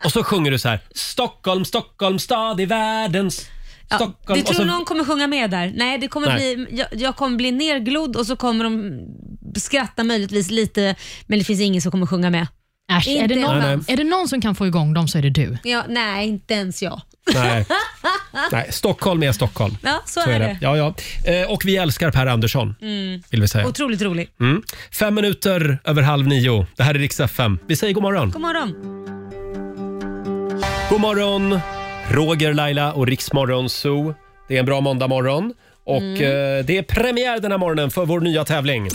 och så sjunger du så här. Stockholm, Stockholm, stad i världens... ja, Stockholm. du och tror så, någon kommer sjunga med där? Nej, det kommer Nej. Bli, jag, jag kommer bli nerglodd och så kommer de skratta möjligtvis lite, men det finns ingen som kommer sjunga med. Äsch, är, det Inte någon, Nej, nej. är det någon som kan få igång dem så är det du. Ja, nej, inte ens jag. nej. nej, Stockholm är Stockholm. Ja, så är det. Ja, ja. Eh, Och vi älskar Per Andersson, Mm. vill vi säga. Otroligt rolig. Mm. Fem minuter över halv nio. Det här är Rix FM. Vi säger god morgon. God morgon. God morgon, Roger, Laila och Riksmorgon Zoo. Det är en bra måndagmorgon och Mm. eh, det är premiär den här morgonen för vår nya tävling.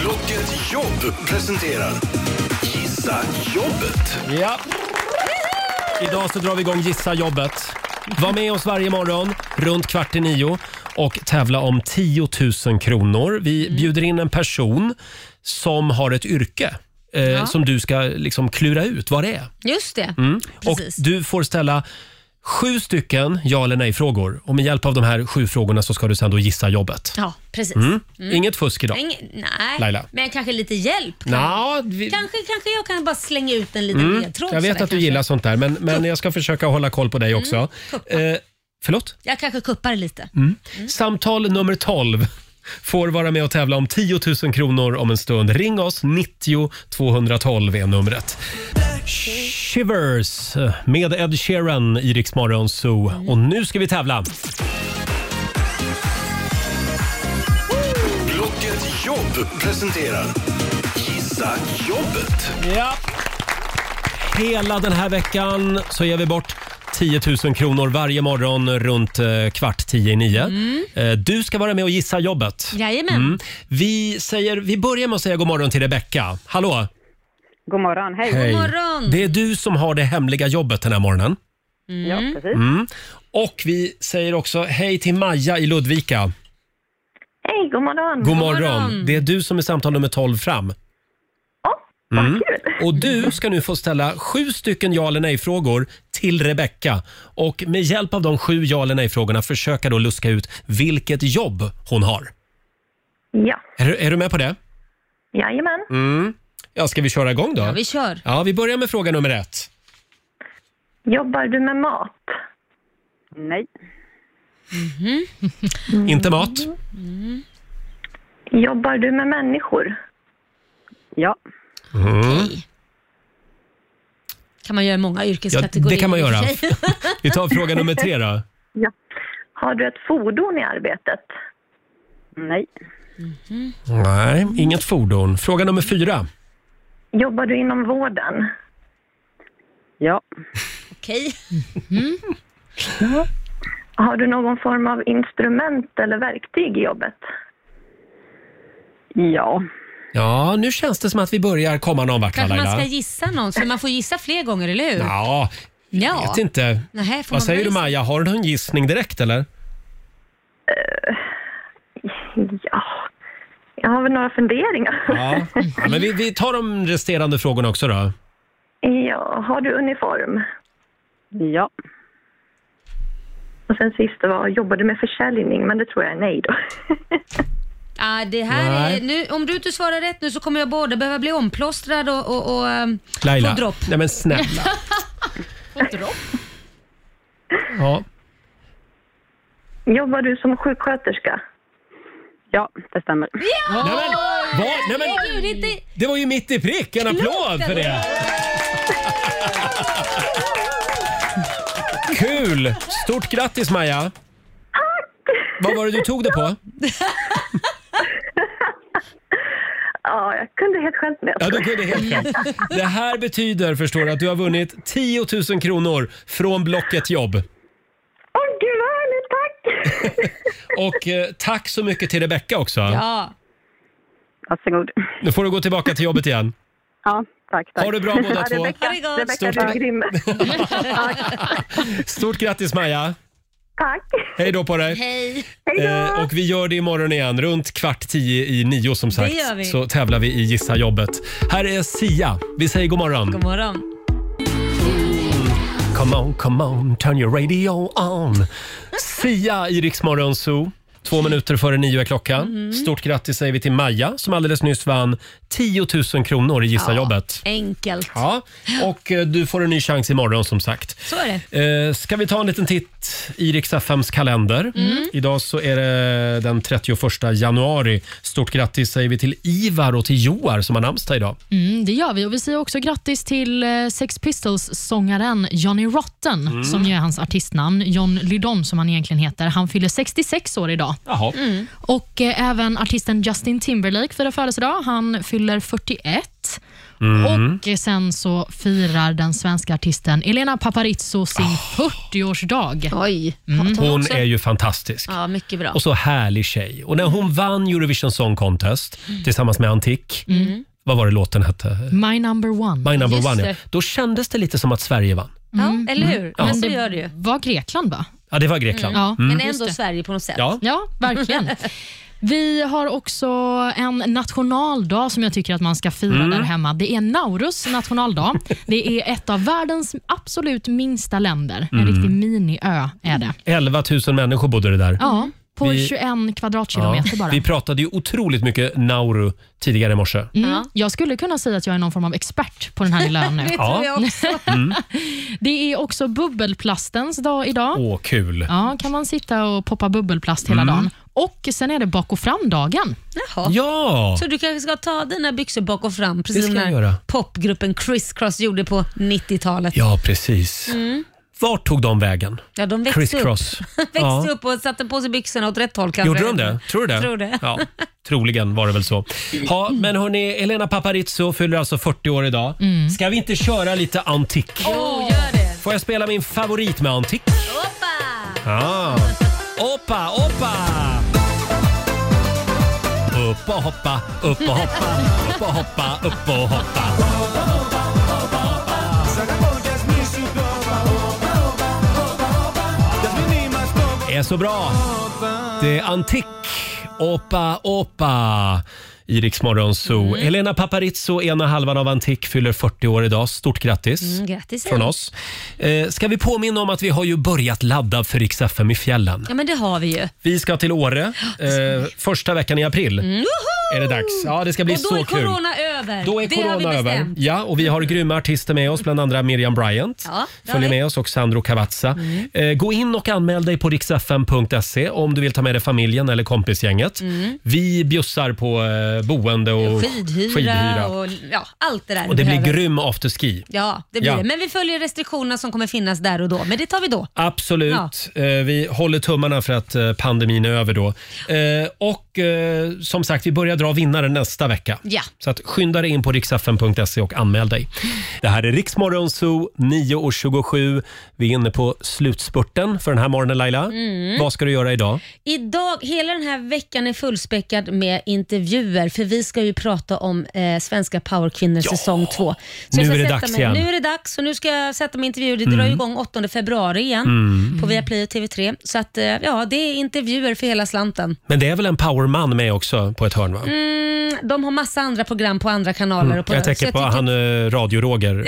Blocket Jobb presenterar Gissa jobbet. Ja. Idag så drar vi igång Gissa jobbet. Var med oss varje morgon runt kvart i nio och tävla om 10 000 kronor. Vi Mm. bjuder in en person som har ett yrke eh, Ja. som du ska liksom klura ut vad det är. Just det. Mm. Och Precis. du får ställa sju stycken ja eller nej-frågor. Och med hjälp av de här sju frågorna så ska du sen då gissa jobbet. Ja, precis. Mm. Mm. Inget fusk idag. Ingen- nej, Laila. men kanske lite hjälp. kan- Nå, vi- Kanske, kanske jag kan bara slänga ut en liten Mm. ledtråd. Jag sådär vet att kanske. Mm. du gillar sånt där, men, men jag ska försöka hålla koll på dig också. Eh, förlåt? Jag kanske kuppar lite. Mm. Samtal nummer 12 får vara med och tävla om 10 000 kronor om en stund. Ring oss, 90 212 är numret. Shivers med Ed Sheeran i Rix Morgon Zoo. Och nu ska vi tävla. Blocket Jobb presenterar Gissa jobbet. Ja. Hela den här veckan så ger vi bort 10 000 kronor varje morgon runt eh, kvart tio i nio. Eh, Du ska vara med och gissa jobbet. Jajamän. Mm. Vi, säger, vi börjar med att säga god morgon till Rebecka. Hallå! God morgon, hej. Det är du som har det hemliga jobbet den här morgonen. Ja, precis. Mm. Och vi säger också hej till Maja i Ludvika. Hej, god morgon. God morgon! Det är du som är samtal nummer 12 fram. Ja, mm. Och du ska nu få ställa sju stycken ja eller nej-frågor till Rebecka. Och med hjälp av de sju ja eller nej-frågorna försöka då luska ut vilket jobb hon har. Ja, Är, du- är du med på det? jajamän. Mm. Ja, ska vi köra igång då? Ja, vi kör. Ja, vi börjar med fråga nummer ett. Jobbar du med mat? Nej. Inte mat? Jobbar du med människor? Ja. Mm. kan man göra i många yrkeskategorier. Ja, det kan man i och göra. för sig. Vi tar fråga nummer tre då. Ja. Har du ett fordon i arbetet? Nej. Nej, inget fordon. Fråga nummer fyra. Jobbar du inom vården? Ja. Okej. Har du någon form av instrument eller verktyg i jobbet? Ja. Ja, nu känns det som att vi börjar komma någon vart Kanske man Laila. ska gissa någon, så man får gissa fler gånger, eller hur? Ja, Ja. vet inte. Nähä, får Vad man säger du börja Maja, har du någon gissning direkt eller? Ja. Jag har väl några funderingar. Ja. ja men vi, vi tar de resterande frågorna också då. Ja, har du uniform? Ja. Och sen sista var, jobbar du med försäljning? Men det tror jag är nej då. Ah, det här Nej. är, nu, om du inte svarar rätt nu så kommer jag både behöva bli omplåstrad och, och, och ehm, Laila. få dropp. Nej men snälla. få dropp? Ja. Jobbar du som sjuksköterska? Ja, det stämmer. Ja! Nej, men, vad? Nej, men- Herregud, inte... Det var ju mitt i prick, en applåd för det! Kul! Stort grattis Maja! Vad var det du tog det på? Ja, jag kunde helt själv med. Ja, du kunde helt själv. Det här betyder, förstår du, att du har vunnit 10 000 kronor från Blocket Jobb. Åh, gud vad härligt, tack! Och eh, tack så mycket till Rebecka också. Ja. Varsågod. Nu får du gå tillbaka till jobbet igen. Ja, tack. tack. Ha det bra båda Ja, två. Rebecka, Ha det gott. Rebecka Stort du är tack. grym. Stort grattis Maja! Tack. Hej då på dig! Hej. Eh, och vi gör det imorgon igen, runt kvart tio i nio som sagt. gör vi. Så tävlar vi i Gissa jobbet. Här är Sia. Vi säger god morgon. God morgon. Come on, come on, turn your radio on. Sia i Rix Morgon Zoo. Två minuter före nio är klockan. Mhm. Stort grattis säger vi till Maja som alldeles nyss vann 10 000 kronor i Gissa jobbet. Enkelt. Ja, och eh, du får en ny chans imorgon som sagt. Så är det. Eh, ska vi ta en liten titt i Rix FMs kalender? Mm. Idag så är det den 31 januari. Stort grattis säger vi till Ivar och till Joar som har namnsdag idag. Mm, det gör vi och vi säger också grattis till eh, Sex Pistols-sångaren Johnny Rotten, Mm. som ju är hans artistnamn. John Lydon som han egentligen heter. Han fyller 66 år idag. Jaha. Mm. Och eh, även artisten Justin Timberlake firar födelsedag. Han fyller 41. Mm. Och eh, sen så firar den svenska artisten Elena Paparizou sin Ah. 40-årsdag. Oj. Hon är ju fantastisk. Mm. Ja, mycket bra. Och så härlig tjej. Och när hon vann Eurovision Song Contest tillsammans med Antik, Mm. vad var det låten hette? My number one. My number one, ja. Då kändes det lite som att Sverige vann. Ja, eller hur? Mm. Ja. Men så gör det ju. var Grekland, va? Ja, det var Grekland. Mm. Ja, Mm. Men ändå Sverige på något sätt. Ja. Ja, verkligen. Vi har också en nationaldag som jag tycker att man ska fira Mm. där hemma. Det är Naurus nationaldag. Det är ett av världens absolut minsta länder. En Mm. riktig miniö är det. 11 000 människor bodde det där. Ja, på Vi- 21 kvadratkilometer Ja. bara. Vi pratade ju otroligt mycket Nauru tidigare i morse. Mm. Jag skulle kunna säga att jag är någon form av expert på den här lilla ön nu. Det tror jag Ja. också. Det är också bubbelplastens dag idag. Åh, kul. Ja, kan man sitta och poppa bubbelplast hela Mm. dagen. Och sen är det bak och fram-dagen. Jaha. Ja. Så du kanske ska ta dina byxor bak och fram, Det precis ska som jag den göra. här popgruppen Criss Cross gjorde på 90-talet. Ja, precis. Mm. Vart tog de vägen? Ja, de växte Criss upp. cross. växte Ja. upp och satte på sig byxorna åt rätt håll kanske. Gjorde de det? Tror du det? Tror det. Ja, troligen var det väl så. Ja, men hörni, Elena Paparizou fyller alltså 40 år idag. Ska vi inte köra lite antik? Jo, Oh, gör det. Får jag spela min favorit med antik? Hoppa! Ja. Oppa, oppa! Upp och hoppa, upp och hoppa, upp och hoppa, upp och hoppa. är så bra. Det är antik. Opa, opa. I Rix Morgon Zoo. Mm. Elena Paparizou, ena halvan av Antik, fyller 40 år idag. Stort grattis, Mm, grattis. från oss. Eh, ska vi påminna om att vi har ju börjat ladda för Rix FM i fjällen. Ja, men det har vi ju. Vi ska till Åre eh, första veckan i april. Mm. Är det dags? Ja, det ska bli och då så är kul. corona över. Då är det corona har vi över. bestämt. Mm. Ja, och vi har grymma artister med oss, bland andra Miriam Bryant. Ja, det har Följer vi. Mm. med oss och Sandro Cavazza. Eh, gå in och anmäl dig på riksfm.se om du vill ta med dig familjen eller kompisgänget. Mm. Vi bjussar på eh, boende och Skidhyra, skidhyra. Och, och ja, allt det där det vi blir behöver. grym afterski. Ja, det blir Ja. det. Men vi följer restriktionerna som kommer finnas där och då. Men det tar vi då. Absolut. Eh, Vi håller tummarna för att eh, pandemin är över då. Eh, Och eh, som sagt, vi börjar börja dra vinnare nästa vecka. Ja. Så att skynda dig in på riksfn.se E och anmäl dig. Det här är Riksmorgon Zoo, 9.27. Vi är inne på slutspurten för den här morgonen Laila. Mm. Vad ska du göra idag? Idag, hela den här veckan är fullspäckad med intervjuer för vi ska ju prata om eh, svenska powerkvinnor säsong två. Nu jag ska är det sätta dags mig, igen. Nu är det dags och nu ska jag sätta mig i intervjuer. Det Mm. drar ju igång 8 februari igen Mm. på Viaplay och TV3. Så att, eh, ja, det är intervjuer för hela slanten. Men det är väl en powerman med också på ett hörn va? Mm, de har massa andra program på andra kanaler. Mm. Och typ. på, Jag så tänker på han eh, radio-Roger.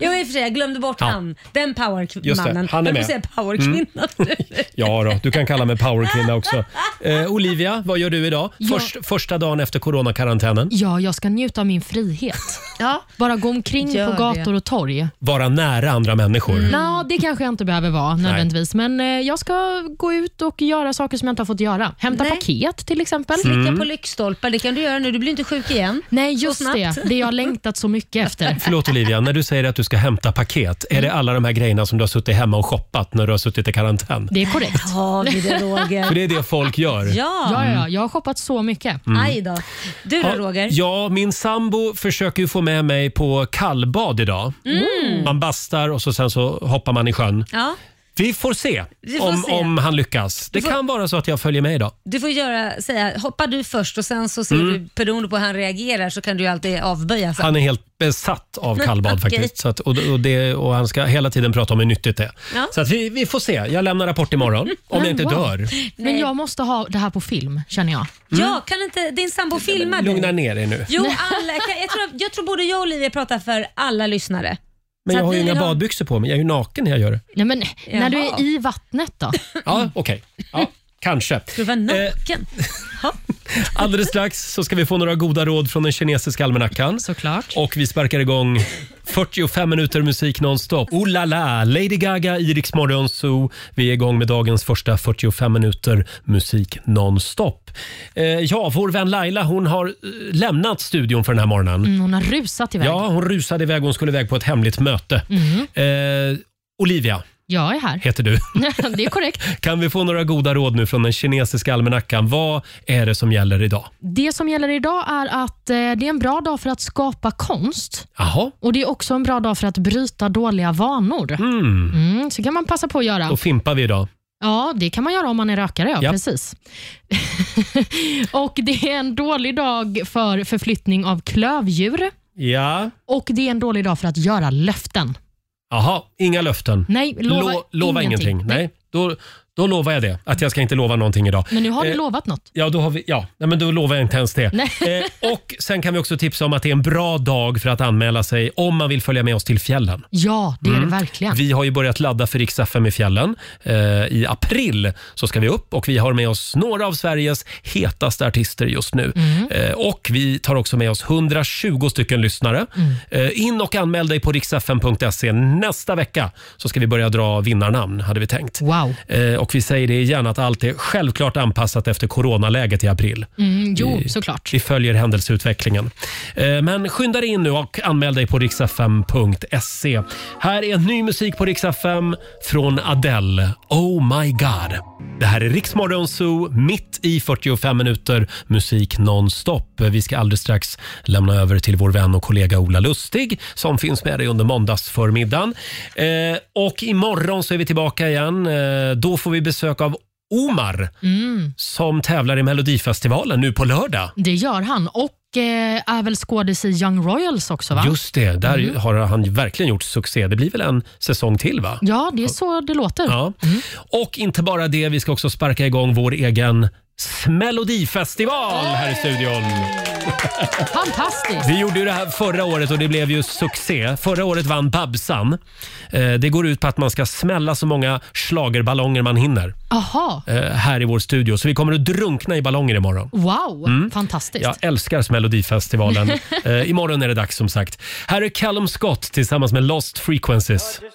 jo, i och för sig, jag glömde bort Ja. han. Den Just det, powermannen. han är Jag med. får säga powerkvinna nu. Mm. Ja då, du kan kalla mig powerkvinna också. Eh, Olivia, vad gör du idag? Ja. Först, första dagen efter coronakarantänen. Ja, jag ska njuta av min frihet. Ja. Bara gå omkring Gör på gator det. och torg. Vara nära andra människor. Mm. Nå, det kanske jag inte behöver vara nödvändigtvis, men eh, jag ska gå ut och göra saker som jag inte har fått göra. Hämta paket till exempel. Slicka Mm. på lyktstolpar, det kan du göra nu. Du blir inte sjuk igen. Nej, just det. snabbt. Det jag har längtat så mycket efter. Förlåt Olivia, när du säger att du ska hämta paket, är Mm. det alla de här grejerna som du har suttit hemma och shoppat när du har suttit i karantän? Det är korrekt. Ja, vi det, Roger. För det är det folk gör. Ja. Ja, ja, jag har shoppat så mycket. Mm. Aj då. Du då Ja, Roger? Ja, min sambo försöker ju få med mig på kallbad idag. Mm. Man bastar och så sen så hoppar man i sjön. Ja, Vi får se, Vi får om, se. om han lyckas. Det Du får- kan vara så att jag följer med idag. Du får göra, säga, hoppa du först och sen så ser Mm. du, beroende på hur han reagerar, så kan du ju alltid avböja sen. Han är helt besatt av kallbad Okej. faktiskt. Så att, och, och, det, och han ska hela tiden prata om hur nyttigt det är. Ja. Så att vi, vi får se. Jag lämnar rapport imorgon. Om jag inte Wow. dör. Men jag måste ha det här på film, känner jag. Mm. Ja, kan inte din sambo filma dig? Lugna ner dig nu. Jo, alla, jag, tror, jag tror både jag och Olivia pratar för alla lyssnare. Men Så jag att har ju vi inga vill ha- badbyxor på mig. Jag är ju naken när jag gör det. Nej, men, när du Jaha. är i vattnet då? Ja, okej. Ja, kanske. Du var Eh, naken. Alldeles strax så ska vi få några goda råd från den kinesiska almanackan. Såklart. Och vi sparkar igång 45 minuter musik nonstop. Oh la la, Lady Gaga i Rix Morgon Zoo. Vi är igång med dagens första 45 minuter musik nonstop. Eh, ja, vår vän Laila hon har eh, lämnat studion för den här morgonen. Mm, hon har rusat iväg. Ja, hon rusade iväg. Hon skulle iväg på ett hemligt möte. Mm. Eh, Olivia Jag är här. heter du. det är korrekt. Kan vi få några goda råd nu från den kinesiska almanackan? Vad är det som gäller idag? Det som gäller idag är att eh, det är en bra dag för att skapa konst. Jaha, Och Det är också en bra dag för att bryta dåliga vanor. Mm. så kan man passa på att göra. då fimpar vi idag. Ja, det kan man göra om man är rökare. Ja, Ja. precis. och Det är en dålig dag för förflyttning av klövdjur Ja, och det är en dålig dag för att göra löften. jaha, inga löften. Nej, lova lova ingenting. ingenting. Nej, då, då lovar jag det. Att jag ska inte lova någonting idag. Men nu har du Eh, lovat något. Ja, då, har vi, ja. Nej, men då lovar jag inte ens det. Nej. Eh, och Sen kan vi också tipsa om att det är en bra dag för att anmäla sig om man vill följa med oss till fjällen. Ja, det är Mm. det verkligen. Vi har ju börjat ladda för Rix FM i fjällen. Eh, I april så ska vi upp och vi har med oss några av Sveriges hetaste artister just nu. Mm. Eh, och vi tar också med oss 120 stycken lyssnare. Mm. Eh, in och anmäl dig på riksfm.se. Nästa vecka så ska vi börja dra vinnarnamn, hade vi tänkt. Wow. Eh, och vi säger det igen att allt är självklart anpassat efter coronaläget i april. Mm, jo, Vi- såklart. Vi följer händelseutvecklingen. Eh, Men skynda dig in nu och anmäl dig på riksfm.se. E. Här är ny musik på riksfm från Adele. Oh my god. Det här är Riksmorgon Zoo, mitt i 45 minuter musik nonstop. Vi ska alldeles strax lämna över till vår vän och kollega Ola Lustig som finns med dig under måndagsförmiddagen. Eh, och imorgon så är vi tillbaka igen. Eh, då får vi besök av Omar Mm. som tävlar i Melodifestivalen nu på lördag. Det gör han och eh, är väl skådis i Young Royals också? va? Just det, där Mm. har han ju verkligen gjort succé. Det blir väl en säsong till va? Ja, det är så det låter. Ja. Mm. Och inte bara det, vi ska också sparka igång vår egen Melodifestival här i studion. Fantastiskt! Vi gjorde ju det här förra året och det blev ju succé. Förra året vann Babsan. Eh, Det går ut på att man ska smälla så många slagerballonger man hinner Aha. eh, här i vår studio. Så vi kommer att drunkna i ballonger imorgon. Wow, Mm. fantastiskt. Jag älskar Melodifestivalen. eh, imorgon är det dags som sagt. Här är Callum Scott tillsammans med Lost Frequencies.